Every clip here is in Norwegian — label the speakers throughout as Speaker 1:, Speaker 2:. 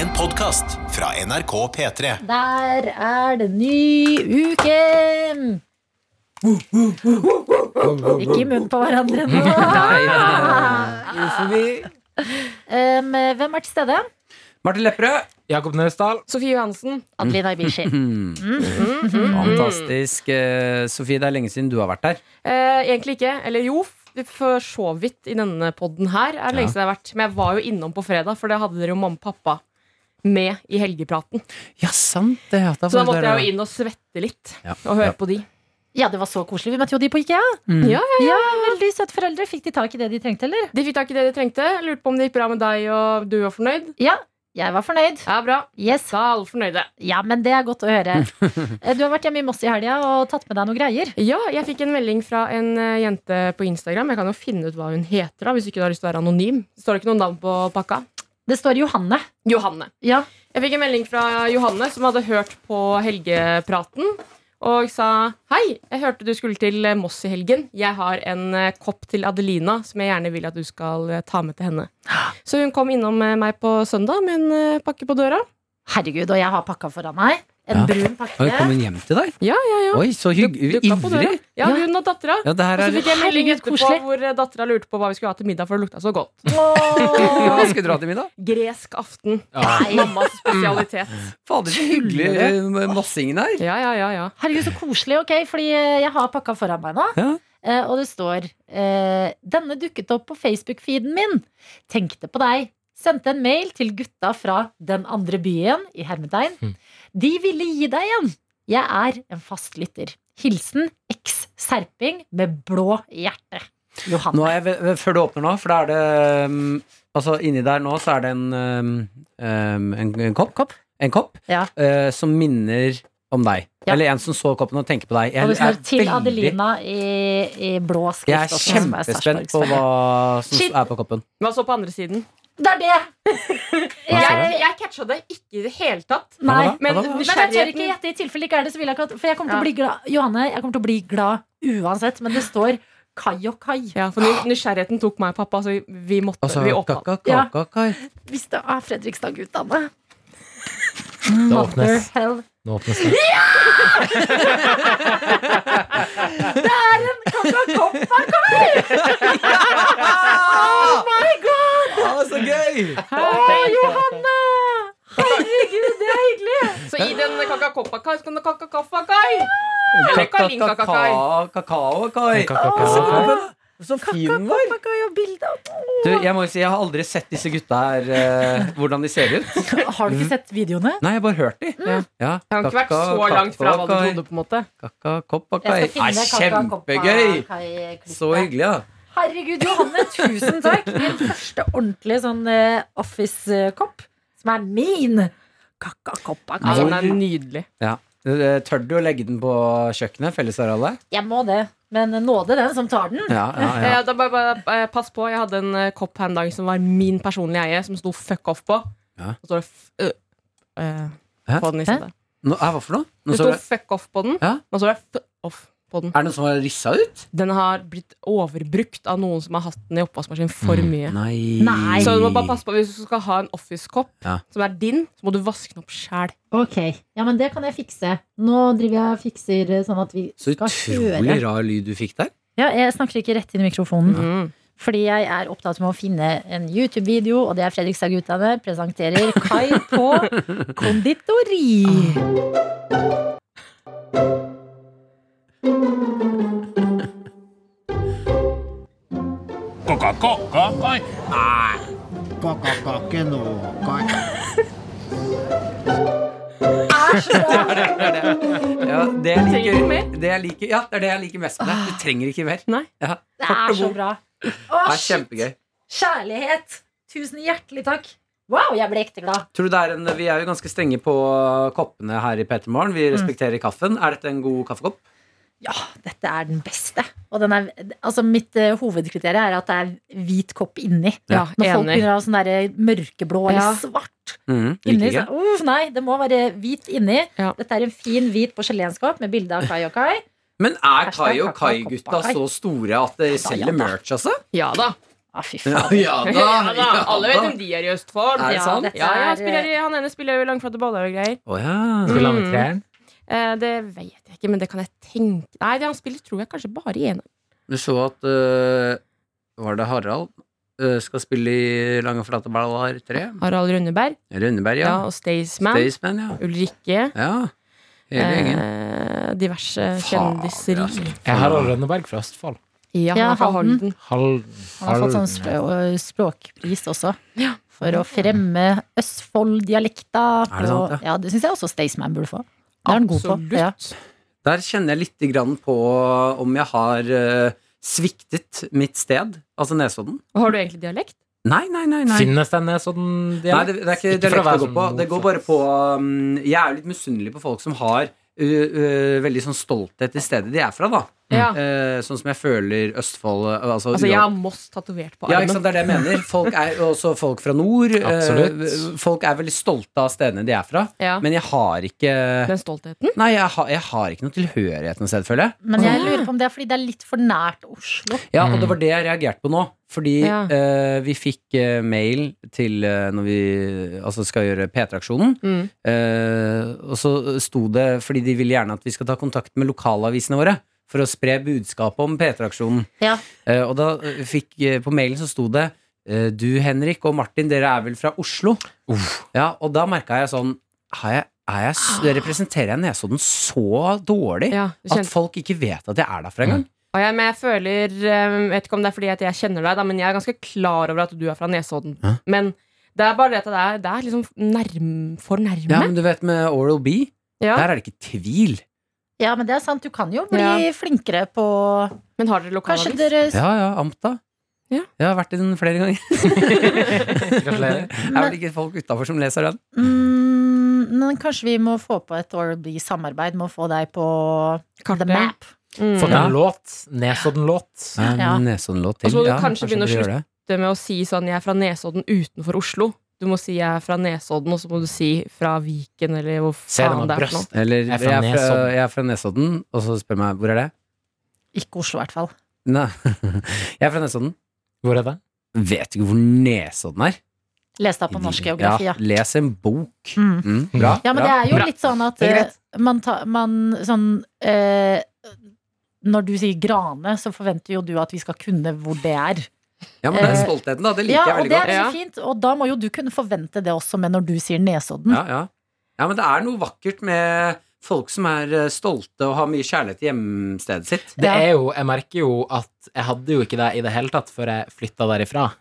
Speaker 1: En podkast fra NRK P3.
Speaker 2: Der er det ny uke! Ikke i munnen på hverandre nå. Um, hvem er til stede?
Speaker 3: Martin Lepperød.
Speaker 4: Jakob Nøsdal.
Speaker 5: Sofie Johansen.
Speaker 2: Adelina Ibishi.
Speaker 3: Mm.
Speaker 5: Mm.
Speaker 3: Fantastisk. Eh, Sofie, det er lenge siden du har vært her.
Speaker 5: Eh, egentlig ikke. Eller jo, f- for så vidt i denne podden her. er
Speaker 3: Ja.
Speaker 5: det lengste det har vært Men jeg var jo innom på fredag, for det hadde dere jo mamma og pappa med i helgepraten.
Speaker 3: Ja, sant det. ja,
Speaker 5: Så da
Speaker 3: var
Speaker 5: måtte
Speaker 3: du der,
Speaker 5: jeg jo inn og svette litt
Speaker 3: Ja.
Speaker 5: og høre
Speaker 3: Ja.
Speaker 5: på de.
Speaker 2: Ja, det var så koselig. Vi møtte jo de på Ikea.
Speaker 3: Mm.
Speaker 5: Ja,
Speaker 2: Veldig søte foreldre. Fikk de tak i det de trengte, eller?
Speaker 5: De fikk tak i det de trengte. Jeg Lurte på om det gikk bra med deg, og du var fornøyd?
Speaker 2: Ja. Jeg var fornøyd.
Speaker 5: Ja, bra.
Speaker 2: Yes.
Speaker 5: Da er alle fornøyde.
Speaker 2: Ja, men det er godt å høre. Eh, Du har vært hjemme i Moss i helga og tatt med deg noen greier.
Speaker 5: Ja, jeg fikk en melding fra en eh, jente på Instagram. Jeg kan jo finne ut hva hun heter, da, hvis ikke du har lyst til å være anonym. Det står ikke noe navn på pakka.
Speaker 2: Det står Johanne.
Speaker 5: Johanne.
Speaker 2: Ja.
Speaker 5: Jeg fikk en melding fra Johanne som hadde hørt på helgepraten og sa Hei, jeg hørte du skulle til Moss i helgen. Jeg har en eh, kopp til Adelina som jeg gjerne vil at du skal eh, ta med til henne. Så hun kom innom eh, meg på søndag med en eh, pakke på døra.
Speaker 2: Herregud, og jeg har pakka foran meg. En
Speaker 3: Ja.
Speaker 2: brun
Speaker 3: Oi, kom
Speaker 2: pakke.
Speaker 3: hun hjem til deg?
Speaker 5: Ja, ja, ja.
Speaker 3: Oi, så hyggelig.
Speaker 5: Dukket opp på
Speaker 3: Ivrig.
Speaker 5: døra. Ja, hun og dattera.
Speaker 3: Ja, det her
Speaker 5: Og så
Speaker 3: er
Speaker 5: fikk jeg en melding
Speaker 2: Herregud,
Speaker 5: etterpå
Speaker 2: koselig.
Speaker 5: hvor eh, dattera lurte på hva vi skulle ha til middag, for det lukta så godt.
Speaker 2: Åh.
Speaker 3: Hva skal du dra til middag?
Speaker 5: Gresk aften.
Speaker 2: Nei.
Speaker 5: Mammas
Speaker 3: Mm.
Speaker 5: spesialitet.
Speaker 3: Fader, så hyggelig eh, mossingen her.
Speaker 5: Ja, ja, ja, ja.
Speaker 2: Herregud, så koselig. ok, Fordi eh, jeg har pakka foran meg nå.
Speaker 3: Ja.
Speaker 2: Eh, Og det står eh, 'Denne dukket opp på Facebook-feeden min'. Tenkte på deg. Sendte en mail til gutta fra den andre byen i Hermetegn.
Speaker 3: Hm.
Speaker 2: De ville gi deg en. Jeg er en fast lytter. Hilsen eks serping med blå hjerte.
Speaker 3: Nå
Speaker 2: Johanne.
Speaker 3: er jeg, ve- ve- før du åpner nå, for da er det um, Altså, inni der nå så er det en, um, um, en, en kopp. En kopp
Speaker 2: Ja.
Speaker 3: eh, som minner om deg.
Speaker 2: Ja.
Speaker 3: Eller en som så koppen og tenker på deg. Jeg
Speaker 2: Og det
Speaker 3: er
Speaker 2: står til
Speaker 3: veldig-
Speaker 2: Adelina i, i blå skrift.
Speaker 3: Jeg er
Speaker 2: også, som
Speaker 3: kjempespent på
Speaker 2: Sarpsborg.
Speaker 3: hva som
Speaker 2: Shit.
Speaker 3: er på koppen.
Speaker 5: Hva så på andre siden?
Speaker 2: Det er det!
Speaker 5: Jeg, jeg catcha det ikke i det hele tatt.
Speaker 2: Nei.
Speaker 3: Hva da?
Speaker 5: Men
Speaker 3: Hva da?
Speaker 2: Men jeg tør ikke
Speaker 5: nysgjerrigheten
Speaker 2: gjette i tilfelle ikke er det, så vil jeg ikke at For jeg kommer til å
Speaker 5: Ja.
Speaker 2: bli glad. Johanne, jeg kommer til å bli glad uansett, men det står kai og kai.
Speaker 5: ja, for ny- nysgjerrigheten tok meg og pappa, så vi måtte
Speaker 3: Ah. Altså,
Speaker 5: vi opp.
Speaker 3: kaka,
Speaker 2: Ja.
Speaker 3: kaka, kai.
Speaker 2: Hvis det er Fredrikstad-guttene.
Speaker 4: Det
Speaker 2: Mother
Speaker 4: åpnes.
Speaker 2: hell.
Speaker 4: Nå åpnes det.
Speaker 3: Oh my god! Det var så gøy!
Speaker 2: Johanne! Herregud, det er hyggelig!
Speaker 5: Så i den kakakopakai så kan det kakakafakai! Eller
Speaker 3: Kaka-
Speaker 5: kaling kakakai.
Speaker 3: kaka- Kakao, kai.
Speaker 4: Kakao.
Speaker 3: Så fin den var. Du, jeg må jo si, jeg har aldri sett disse gutta her, eh, hvordan de ser ut.
Speaker 2: Har du ikke sett videoene?
Speaker 3: Nei, jeg har bare hørt de. Ja.
Speaker 5: Mm. Jeg har ikke vært
Speaker 3: Kaka-
Speaker 5: så langt fra hva du
Speaker 3: kakaokai.
Speaker 5: trodde. på en måte
Speaker 3: Kaka, koppa, kai. Nei, kjempegøy! Så hyggelig, ja.
Speaker 2: Herregud, Johanne, tusen takk. Min første ordentlige sånn eh, office-kopp, som er min. Kakakoppa
Speaker 5: ja,
Speaker 2: kai.
Speaker 5: Den er nydelig.
Speaker 3: ja. Eh, Tør du å legge den på kjøkkenet? Fellesarealet?
Speaker 2: Jeg må det, men nåde den som tar den.
Speaker 3: Ja, ja, ja.
Speaker 5: Eh, da bare, bare, eh, pass på, jeg hadde en eh, kopp her en dag som var min personlige eie, som sto fuck off på.
Speaker 3: Ja.
Speaker 5: Og så var det f... ø- eh,
Speaker 3: Hæ?
Speaker 5: på den i stedet.
Speaker 3: Nå, eh, hva for noe? Nå
Speaker 5: Det
Speaker 3: så
Speaker 5: sto
Speaker 3: det-
Speaker 5: fuck off på den,
Speaker 3: Ja.
Speaker 5: og så var det f off på den.
Speaker 3: Er det noen som har rissa ut?
Speaker 5: Den har blitt overbrukt av noen som har hatt den i oppvaskmaskinen for mye.
Speaker 3: Mm. Nei.
Speaker 2: Nei.
Speaker 5: Så du må bare passe på Hvis du skal ha en office-kopp
Speaker 3: Ja.
Speaker 5: som er din, så må du vaske den opp sjæl.
Speaker 2: Ok, ja, men det kan jeg fikse. Nå driver jeg og fikser eh, sånn at vi
Speaker 3: Så
Speaker 2: skal
Speaker 3: utrolig
Speaker 2: høre.
Speaker 3: rar lyd du fikk der.
Speaker 2: Ja, jeg snakker ikke rett inn i mikrofonen.
Speaker 5: Mm.
Speaker 2: Fordi jeg er opptatt med å finne en YouTube-video, og det er Fredrikstad-guttene presenterer Kai på konditori.
Speaker 6: Kakakake no kai.
Speaker 3: Ja, det jeg
Speaker 5: Trenger
Speaker 3: liker,
Speaker 5: du mer?
Speaker 3: det jeg liker, ja, det er det jeg liker mest med det. Du trenger ikke mer.
Speaker 5: Nei.
Speaker 3: Ja,
Speaker 2: Det
Speaker 3: kort
Speaker 2: er
Speaker 3: og
Speaker 2: så
Speaker 3: god.
Speaker 2: bra. Å,
Speaker 3: Det er
Speaker 2: Ah, shit.
Speaker 3: kjempegøy.
Speaker 2: Kjærlighet. Tusen hjertelig takk. Wow, jeg ble ekte glad.
Speaker 3: Tror du det er en, vi er jo ganske strenge på koppene her i P3 Morgen. Vi respekterer kaffen. Er dette en god kaffekopp?
Speaker 2: Ja, dette er den beste. Og den er, altså mitt eh, hovedkriterium er at det er hvit kopp inni.
Speaker 3: Ja,
Speaker 2: Når folk
Speaker 5: enig.
Speaker 2: begynner å ha sånn der mørkeblå
Speaker 5: Ja.
Speaker 2: eller svart
Speaker 3: Mm,
Speaker 2: inni, så, uff, nei, det må være hvit inni.
Speaker 5: Ja.
Speaker 2: Dette er en fin hvit porselenskopp med bilde av Kai og Kai.
Speaker 3: Men er
Speaker 2: Hashtag
Speaker 3: Kai og
Speaker 2: kakao,
Speaker 3: Kai-gutta
Speaker 2: koppa, Kai.
Speaker 3: så store at dere selger merch, altså?
Speaker 5: Ja da.
Speaker 2: Ah, fy faen.
Speaker 3: Ja da!
Speaker 5: Ja, da. Alle vet hvem de er i Østfold.
Speaker 3: Er det
Speaker 5: ja,
Speaker 3: sant?
Speaker 5: ja, ja, spiller, i- han ene spiller jo langflate baller og greier.
Speaker 3: Å ja.
Speaker 4: Spiller han i treen?
Speaker 5: Eh, det vet jeg ikke, men det kan jeg tenke Nei, det han spiller, tror jeg kanskje bare i ene.
Speaker 3: Du så at øh, Var det Harald? Øh, skal spille i Lange flate baller 3?
Speaker 5: Harald Rønneberg
Speaker 3: Rønneberg, ja.
Speaker 5: ja, og Staysman.
Speaker 3: Staysman, ja.
Speaker 5: Ulrikke.
Speaker 3: ja. Hele gjengen.
Speaker 5: Eh, diverse
Speaker 3: Faen,
Speaker 5: kjendiseri.
Speaker 3: altså.
Speaker 4: Er Harald Rønneberg fra Østfold?
Speaker 5: Ja,
Speaker 2: Ja,
Speaker 5: han er fra
Speaker 2: Halden.
Speaker 5: Halden.
Speaker 4: Halden.
Speaker 2: Han har fått sånn
Speaker 4: Halden.
Speaker 2: språk- språkpris også. For å fremme Østfold-dialekta.
Speaker 3: Er det sant, ja?
Speaker 2: ja, det syns jeg også Staysman burde få. Det er han god på.
Speaker 5: Absolutt.
Speaker 2: Ja.
Speaker 3: Der kjenner jeg lite grann på om jeg har øh, sviktet mitt sted, altså Nesodden.
Speaker 5: Og Har du egentlig dialekt?
Speaker 3: Nei, nei, nei. nei.
Speaker 4: Finnes denne sånn
Speaker 3: Nei, det, det er ikke
Speaker 4: for å
Speaker 3: dialekt
Speaker 4: være
Speaker 3: det går på.
Speaker 4: sånn
Speaker 3: Det går bare på um, Jeg er jo litt misunnelig på folk som har ø, ø, veldig sånn stolthet i stedet de er fra, da.
Speaker 5: Ja.
Speaker 3: Eh, sånn som jeg føler Østfold ø, Altså,
Speaker 5: Altså,
Speaker 3: uav-
Speaker 5: jeg har Moss tatovert på
Speaker 3: ja, ikke sant,
Speaker 5: armen.
Speaker 3: det er det jeg mener. Folk er jo også folk fra nord. eh,
Speaker 4: Absolutt.
Speaker 3: folk er veldig stolte av stedene de er fra.
Speaker 5: Ja,
Speaker 3: Men jeg har ikke
Speaker 5: Den stoltheten.
Speaker 3: Nei, jeg har, jeg har ikke noe tilhørighet noe sted, føler jeg.
Speaker 2: Men jeg lurer på om det er fordi det er litt for nært Oslo.
Speaker 3: Ja, og det var det jeg reagerte på nå. Fordi
Speaker 5: Ja.
Speaker 3: eh, vi fikk eh, mail til eh, når vi altså skal gjøre P3-aksjonen.
Speaker 5: Mm.
Speaker 3: Eh, og så sto det fordi de vil gjerne at vi skal ta kontakt med lokalavisene våre. For å spre budskapet om P3-aksjonen.
Speaker 2: Ja.
Speaker 3: Eh, og da eh, fikk eh, på mailen så sto det eh, Du, Henrik og Martin, dere er vel fra Oslo? Ja, og da merka jeg sånn har jeg, er jeg, s- Representerer jeg Nesodden så dårlig
Speaker 5: Ja, du
Speaker 3: at
Speaker 5: kjente.
Speaker 3: folk ikke vet at jeg er derfra engang?
Speaker 5: Og jeg, men jeg føler eh, Vet ikke om det er fordi at jeg kjenner deg, da, men jeg er ganske klar over at du er fra Nesodden.
Speaker 3: Hæ?
Speaker 5: Men det er bare det at det er, det er liksom nærm, for nærme.
Speaker 3: Ja, men du vet med Oral B
Speaker 5: Ja.
Speaker 3: Der er det ikke tvil.
Speaker 2: Ja, men det er sant. Du kan jo bli
Speaker 5: Ja.
Speaker 2: flinkere på
Speaker 5: Men har dere
Speaker 2: Kanskje
Speaker 5: lokalavis?
Speaker 2: dere
Speaker 3: Ja, ja, Amta.
Speaker 5: Ja.
Speaker 3: Jeg har vært i den flere ganger.
Speaker 4: Gratulerer.
Speaker 3: Det er vel ikke folk utafor som leser den.
Speaker 2: mm, Men kanskje vi må få på et Oral B-samarbeid med å få deg på
Speaker 5: Kartet.
Speaker 2: The Map.
Speaker 5: Mm.
Speaker 4: Fått
Speaker 3: Ja.
Speaker 4: en låt. Nesodden-låt.
Speaker 2: Ja.
Speaker 3: En Nesodden-låt
Speaker 5: Og
Speaker 3: til.
Speaker 5: så må du
Speaker 3: Ja,
Speaker 5: kanskje begynne å
Speaker 3: vi gjør det.
Speaker 5: slutte. Det med å si sånn 'jeg er fra Nesodden utenfor Oslo'. Du må si 'jeg er fra Nesodden', og så må du si 'fra Viken', eller hvor
Speaker 4: Se det
Speaker 5: faen
Speaker 4: med
Speaker 5: det er for noe.
Speaker 4: brøst.
Speaker 3: Eller jeg
Speaker 4: Jeg
Speaker 3: er,
Speaker 4: er fra
Speaker 3: fra, jeg, er fra,
Speaker 4: Nesodden.
Speaker 3: Nesodden, og så spør meg hvor er det?
Speaker 2: Ikke Oslo, i hvert fall.
Speaker 3: Nei. Jeg er fra Nesodden.
Speaker 4: Hvor er det?
Speaker 3: Vet ikke hvor Nesodden er.
Speaker 2: Les deg på norsk geografi, ja.
Speaker 3: Ja, les en bok.
Speaker 2: Mm.
Speaker 3: Mm, bra.
Speaker 2: Ja, men det
Speaker 3: bra.
Speaker 2: er jo litt sånn at
Speaker 4: Det er greit.
Speaker 2: eh, man, tar- man sånn eh, Når du sier Grane, så forventer jo du at vi skal kunne hvor det er.
Speaker 3: ja, men det er
Speaker 2: eh,
Speaker 3: stoltheten, da. Det liker
Speaker 2: Ja,
Speaker 3: jeg
Speaker 2: og det er
Speaker 3: veldig godt.
Speaker 2: veldig
Speaker 5: Ja.
Speaker 2: fint, og da må jo du kunne forvente det også med når du sier Nesodden.
Speaker 3: Ja, ja. ja, men det er noe vakkert med folk som er eh, stolte og har mye kjærlighet til hjemstedet sitt.
Speaker 4: Det
Speaker 2: Ja.
Speaker 4: er jo, jeg merker jo at jeg hadde jo ikke det i det hele tatt før jeg flytta derifra.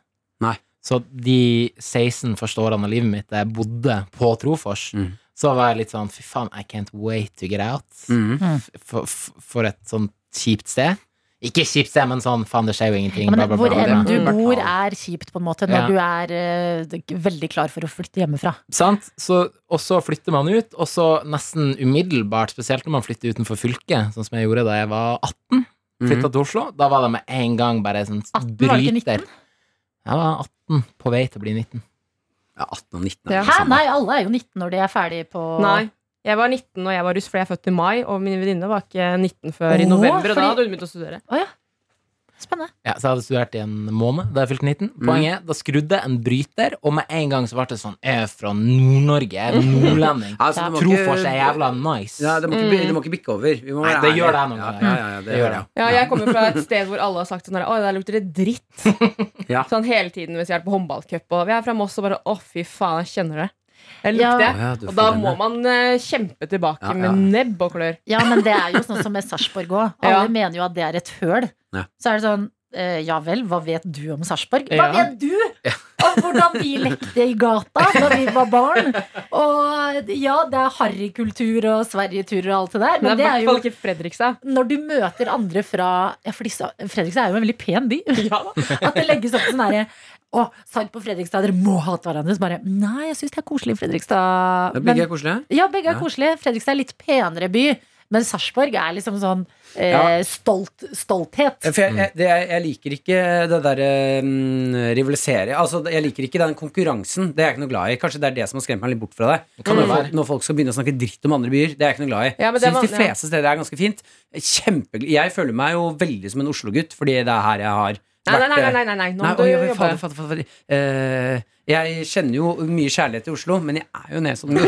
Speaker 3: Nei.
Speaker 4: Så de 16 første årene av livet mitt da jeg bodde på Trofors,
Speaker 3: Mm.
Speaker 4: så var jeg litt sånn fy faen, I can't wait to get out.
Speaker 3: Mhm.
Speaker 4: F- For, f- for et sånt kjipt sted. Ikke kjipt sted, men sånn faen, det skjer jo ingenting.
Speaker 2: Ja, men
Speaker 4: bla, bla,
Speaker 2: hvor
Speaker 4: bla, bla,
Speaker 2: enn
Speaker 4: bla.
Speaker 2: du
Speaker 5: Mm.
Speaker 2: bor, er kjipt, på en måte, når
Speaker 4: Ja.
Speaker 2: du er eh, veldig klar for å flytte hjemmefra.
Speaker 4: Sant? Så, og så flytter man ut, og så nesten umiddelbart, spesielt når man flytter utenfor fylket, sånn som jeg gjorde da jeg var 18, flytta til Oslo, da var det med en gang bare sånn
Speaker 2: 18, var det ikke
Speaker 4: bryter. Jeg var 18, på vei til å bli 19.
Speaker 3: Ja, 18 og 19 er liksom
Speaker 5: Ja.
Speaker 3: det
Speaker 2: Hæ,
Speaker 3: samme.
Speaker 2: nei, alle er jo 19 når de er ferdig på
Speaker 5: Nei. Jeg var 19 og jeg var russ, for jeg er født i mai, og min venninne var ikke 19 før i
Speaker 2: Åh,
Speaker 5: november, og da
Speaker 2: fordi-
Speaker 5: hadde hun begynt å studere.
Speaker 2: Spennende.
Speaker 4: Ja, så jeg hadde studert i en måned da jeg fylte 19. Poenget er, da skrudde jeg en bryter, og med en gang så ble det sånn Jeg er fra Nord-Norge, jeg er nordlending.
Speaker 3: Ja, altså, du må ikke-
Speaker 4: Trofors er jævla nice.
Speaker 3: Ja, det må ikke,
Speaker 5: Mm.
Speaker 3: det må ikke bikke over. Vi må
Speaker 4: Nei,
Speaker 3: være
Speaker 4: det gjør det
Speaker 3: ærlige.
Speaker 4: noen
Speaker 3: Ja, ja,
Speaker 4: ganger.
Speaker 3: ja, ja, det
Speaker 4: Det
Speaker 3: gjør
Speaker 4: gjør
Speaker 3: det.
Speaker 5: Ja, jeg kommer fra et sted hvor alle har sagt sånn her, å, der lukter det dritt.
Speaker 3: Ja.
Speaker 5: Sånn hele tiden hvis jeg er på håndballcup, og vi er fra Moss, og bare å, fy faen, jeg kjenner det. Jeg
Speaker 2: Ja.
Speaker 3: Å
Speaker 5: lukter det.
Speaker 3: ja, du
Speaker 5: Og
Speaker 3: får
Speaker 5: da
Speaker 3: den,
Speaker 5: må
Speaker 3: ja.
Speaker 5: man eh, kjempe tilbake
Speaker 3: Ja, ja.
Speaker 5: med nebb og klør.
Speaker 2: Ja, men det er jo sånn som med Sarpsborg òg. Alle
Speaker 5: Ja.
Speaker 2: mener jo at det er et høl.
Speaker 3: Ja.
Speaker 2: Så er det sånn eh, ja vel, hva vet du om Sarpsborg? Hva
Speaker 4: Ja.
Speaker 2: vet du om hvordan vi lekte i gata da vi var barn? Og ja, det er harrykultur og sverigeturer og alt det der,
Speaker 5: Men
Speaker 2: men
Speaker 5: det
Speaker 2: det
Speaker 5: er
Speaker 2: er
Speaker 5: i hvert
Speaker 2: jo
Speaker 5: fall ikke Fredrikstad.
Speaker 2: når du møter andre fra ja, fordi Sa- Fredrikstad er jo en veldig pen by.
Speaker 5: Ja da.
Speaker 2: At det legges opp sånn herre Å, Sarp og Fredrikstad, dere må hate hverandre. Så bare Nei, jeg syns det er koselig i Fredrikstad.
Speaker 3: Det
Speaker 2: Men-
Speaker 3: blir ikke koselig.
Speaker 2: ja, begge er
Speaker 3: Ja.
Speaker 2: koselige. Fredrikstad er litt penere by. Men Sarpsborg er liksom sånn eh,
Speaker 3: Ja.
Speaker 2: stolt,
Speaker 5: Eh,
Speaker 2: stolthet.
Speaker 3: For jeg, jeg, det, jeg, jeg liker ikke det derre um, rivalisere Altså, jeg liker ikke den konkurransen. Det er jeg ikke noe glad i. Kanskje det er det som har skremt meg litt bort fra deg.
Speaker 4: kan
Speaker 3: Når
Speaker 4: det være.
Speaker 3: folk- Når folk skal begynne å snakke dritt om andre byer. Det er jeg ikke noe glad i.
Speaker 5: Ja, men det
Speaker 3: Syns
Speaker 5: var-
Speaker 3: de fleste steder er ganske fint. Kjempegl- Jeg føler meg jo veldig som en Oslo-gutt, fordi det er her jeg har
Speaker 5: Nei, nei, nei,
Speaker 3: vært, eh,
Speaker 5: nei, nei, nei. nå
Speaker 3: Nei,
Speaker 5: må du
Speaker 3: oi, oi,
Speaker 5: jobbe.
Speaker 3: fader, fader, fader, fader. Eh, jeg kjenner jo mye kjærlighet til Oslo, men jeg er jo Nesodden.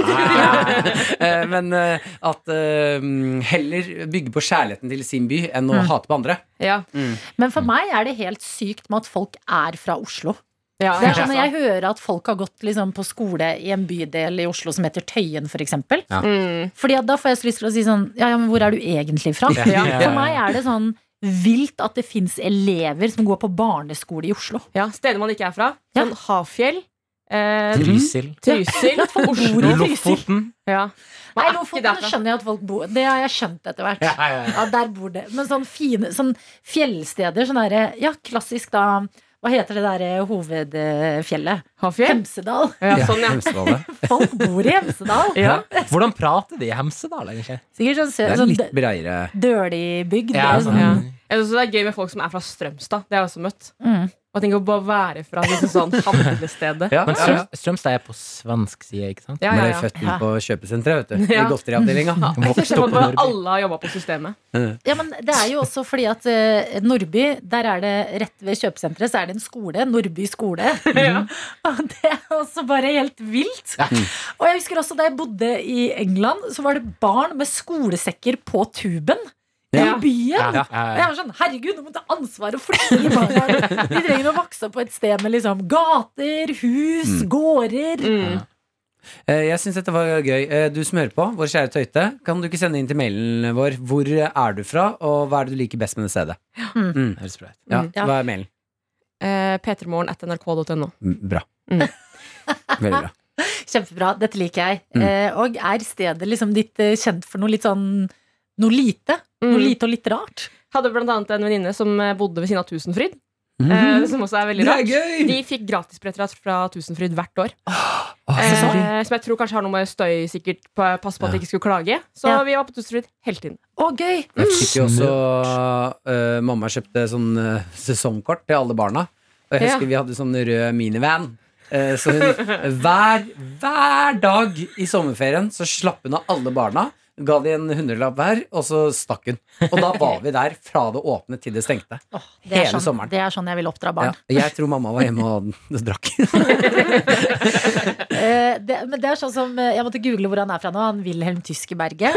Speaker 3: Eh, men eh, at eh, heller bygge på kjærligheten til sin by enn å hate på andre.
Speaker 5: Ja.
Speaker 2: Men
Speaker 5: mm.
Speaker 2: for meg er det helt sykt med at folk er fra Oslo.
Speaker 5: Ja,
Speaker 2: Det er sånn Når jeg hører at folk har gått liksom, på skole i en bydel i Oslo som heter Tøyen, for eksempel
Speaker 5: Mm.
Speaker 2: Fordi at da får jeg så lyst til å si sånn Ja, ja, men hvor er du egentlig fra?
Speaker 5: Ja.
Speaker 2: For meg er det sånn vilt at det fins elever som går på barneskole i Oslo.
Speaker 5: ja, Steder man ikke er fra.
Speaker 2: Ja.
Speaker 5: Sånn Hafjell. Eh,
Speaker 4: Trysil.
Speaker 5: Trysil. Oslo.
Speaker 4: Lofoten.
Speaker 5: Ja. Man
Speaker 2: Nei,
Speaker 5: er ikke
Speaker 2: Lofoten
Speaker 5: derfra.
Speaker 2: skjønner jeg at folk bor Det har jeg skjønt etter hvert.
Speaker 4: Ja, ja, ja.
Speaker 2: Ja, der bor det. Men sånn fine sånn fjellsteder, sånn derre Ja, klassisk da Hva heter det derre hovedfjellet?
Speaker 5: Hafjell?
Speaker 2: Hemsedal.
Speaker 5: Ja, sånn, ja.
Speaker 3: Hemsedal, ja.
Speaker 2: Folk bor i Hemsedal.
Speaker 5: Ja.
Speaker 4: Hvordan prater de i Hemsedal, egentlig?
Speaker 2: Sikkert sånn,
Speaker 3: Det
Speaker 2: sø-
Speaker 3: er
Speaker 2: sånn
Speaker 3: litt breiere.
Speaker 2: dø- dølig bygd.
Speaker 4: Ja,
Speaker 2: det er
Speaker 4: sånn.
Speaker 2: sånn,
Speaker 5: Ja. Jeg synes det er gøy med folk som er fra Strømstad. Det har jeg også møtt.
Speaker 2: Mm.
Speaker 5: Og tenk å bare være fra liksom sånn handlestedet.
Speaker 3: Ja,
Speaker 4: Men
Speaker 3: ja, ja.
Speaker 4: Strøm, Strømstad er på svensk side, ikke sant?
Speaker 5: Ja,
Speaker 3: Man
Speaker 5: ja,
Speaker 3: er
Speaker 5: ja.
Speaker 3: født inn på kjøpesenteret, vet du. I
Speaker 5: Ja.
Speaker 3: godteriavdelinga.
Speaker 5: Jeg synes
Speaker 4: Vokst opp i
Speaker 5: bare
Speaker 4: Nordby.
Speaker 5: alle har jobba på systemet.
Speaker 2: Ja, men Det er jo også fordi at eh, Nordby, der er det rett ved kjøpesenteret, så er det en skole. Nordby skole. Og det er også bare helt vilt. Og jeg husker også da jeg bodde i England, så var det barn med skolesekker på tuben. I
Speaker 3: Ja.
Speaker 2: byen.
Speaker 4: Ja,
Speaker 2: Og jeg var sånn, herregud, nå må du ta ansvar og flytte de barna her. De trenger å vokse opp på et sted med liksom gater, hus, gårder.
Speaker 3: Eh, Jeg syns dette var gøy. Eh, Du som hører på, vår kjære Tøyte, kan du ikke sende inn til mailen vår hvor er du fra, og hva er det du liker best med det stedet? Mm.
Speaker 4: Høres bra ut.
Speaker 3: Ja,
Speaker 2: Ja.
Speaker 3: Hva er mailen?
Speaker 5: Eh, P3morgen.nrk.no.
Speaker 3: Mm, Bra.
Speaker 5: Mm.
Speaker 3: Veldig bra.
Speaker 2: Kjempebra, dette liker jeg.
Speaker 3: Mm.
Speaker 2: Eh, og er stedet liksom ditt eh, kjent for noe litt sånn noe lite? Noe
Speaker 5: Mm.
Speaker 2: lite og litt rart?
Speaker 5: Hadde blant annet en venninne som eh, bodde ved siden av Tusenfryd. eh,
Speaker 3: Mhm.
Speaker 5: Som også er veldig
Speaker 3: Det er
Speaker 5: rart.
Speaker 3: gøy!
Speaker 5: De fikk gratisbilletter fra Tusenfryd hvert år.
Speaker 3: Åh, så sorry.
Speaker 5: Eh, som jeg tror kanskje har noe med støy sikkert på- Passe på at de ikke skulle klage. Så
Speaker 2: Ja.
Speaker 5: vi var på Tusenfryd hele tiden.
Speaker 2: Å, gøy!
Speaker 3: Jeg fikk jo også eh, Mamma kjøpte sånn eh, sesongkort til alle barna. Og jeg
Speaker 5: Ja.
Speaker 3: husker vi hadde sånn rød minivan. Eh, så hun, hver, hver dag i sommerferien så slapp hun av alle barna. Ga de en hundrelapp hver, og så stakk hun. Og da var vi der fra det åpne til det stengte.
Speaker 2: Åh, det, er
Speaker 3: Hele
Speaker 2: sånn,
Speaker 3: sommeren.
Speaker 2: det er sånn jeg vil oppdra
Speaker 3: Ja,
Speaker 2: barn.
Speaker 3: jeg tror mamma var hjemme og og drakk.
Speaker 2: Eh, det, men det er sånn som eh, Jeg måtte google hvor han er fra nå. Han Wilhelm Tyskerberget.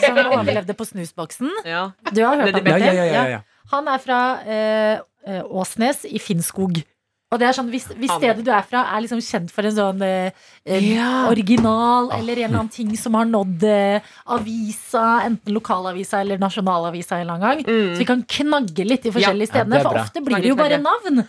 Speaker 2: Som overlevde på snusboksen.
Speaker 5: Ja.
Speaker 2: Du har hørt
Speaker 5: Det er
Speaker 2: om
Speaker 5: det
Speaker 2: dette?
Speaker 3: Ja, ja, ja, ja, ja.
Speaker 2: Han er fra eh, eh, Åsnes i Finnskog. Og det er sånn, hvis, hvis
Speaker 5: Amen.
Speaker 2: stedet du er fra, er liksom kjent for en sånn eh, eh, original
Speaker 4: Ah.
Speaker 2: eller en eller annen ting som har nådd eh, avisa, enten lokalavisa eller nasjonalavisa en eller annen gang Så vi kan knagge litt de forskjellige
Speaker 4: Mm. Ja,
Speaker 2: stedene,
Speaker 4: det er
Speaker 2: for
Speaker 4: bra.
Speaker 2: ofte blir det jo bare
Speaker 5: Knagge,
Speaker 2: navn.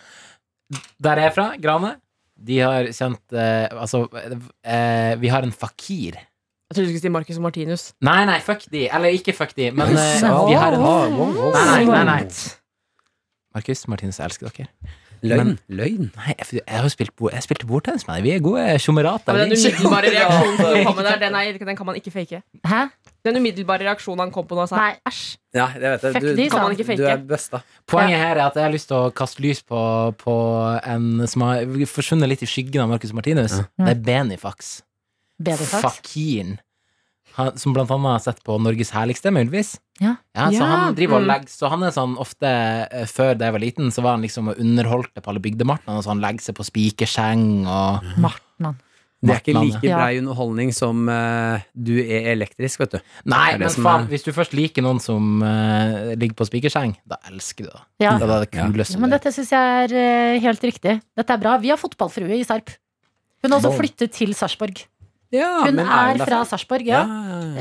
Speaker 4: Der jeg er fra, Grane, de har sendt eh, Altså, eh, vi har en fakir.
Speaker 5: Jeg trodde du skulle si Marcus og Martinus.
Speaker 4: Nei, nei, fuck de. Eller ikke fuck de, men eh,
Speaker 2: Så-
Speaker 4: vi har en Nei, nei, nei. nei.
Speaker 5: Sant.
Speaker 4: Markus, Martinus, jeg elsker dere.
Speaker 3: Løgn. Løgn.
Speaker 4: Nei, jeg, jeg har jo spilt bo, jeg spilte bordtennis med deg. Vi er gode
Speaker 5: Ja,
Speaker 4: tjomerater.
Speaker 5: men den umiddelbare reaksjonen som kom med der, den, er, den kan man ikke fake.
Speaker 2: Hæ?
Speaker 5: Den umiddelbare reaksjonen han kom på nå, sa
Speaker 2: Nei.
Speaker 5: æsj.
Speaker 3: Ja, jeg vet det.
Speaker 2: Fuck
Speaker 3: Du,
Speaker 2: de, sa
Speaker 5: han.
Speaker 3: du er bøsta.
Speaker 4: Poenget her er at jeg har lyst til å kaste lys på, på en som har forsvunnet litt i skyggen av Marcus Martinus. Det er Benifax.
Speaker 2: Bedefaks.
Speaker 4: Fakiren. Han, som blant annet har sett på Norges herligste, muligvis.
Speaker 2: Ja.
Speaker 4: så
Speaker 5: Ja,
Speaker 4: han driver og
Speaker 5: mm.
Speaker 4: legger Så han er sånn ofte eh, Før da jeg var liten, så var han liksom og underholdte på alle bygdemartnene. og Så han legger seg på spikerseng og
Speaker 2: Martnan.
Speaker 3: Det er ikke
Speaker 4: Martlandet.
Speaker 3: like
Speaker 2: Ja.
Speaker 3: brei underholdning som eh, du er elektrisk, vet du.
Speaker 4: Nei,
Speaker 3: Det er det
Speaker 4: men
Speaker 3: som
Speaker 4: faen,
Speaker 3: er-
Speaker 4: hvis du først liker noen som eh, ligger på spikerseng, da elsker du det.
Speaker 2: Ja.
Speaker 4: Det er det
Speaker 3: Ja.
Speaker 4: kuleste.
Speaker 2: Ja, men
Speaker 4: du vet.
Speaker 2: dette syns jeg er eh, helt riktig. Dette er bra. Vi har fotballfrue i Sarp. Hun har også
Speaker 4: Wow.
Speaker 2: flyttet til Sarpsborg.
Speaker 3: Ja,
Speaker 2: Hun
Speaker 3: men
Speaker 2: er
Speaker 3: hun
Speaker 2: fra Sarpsborg, ja.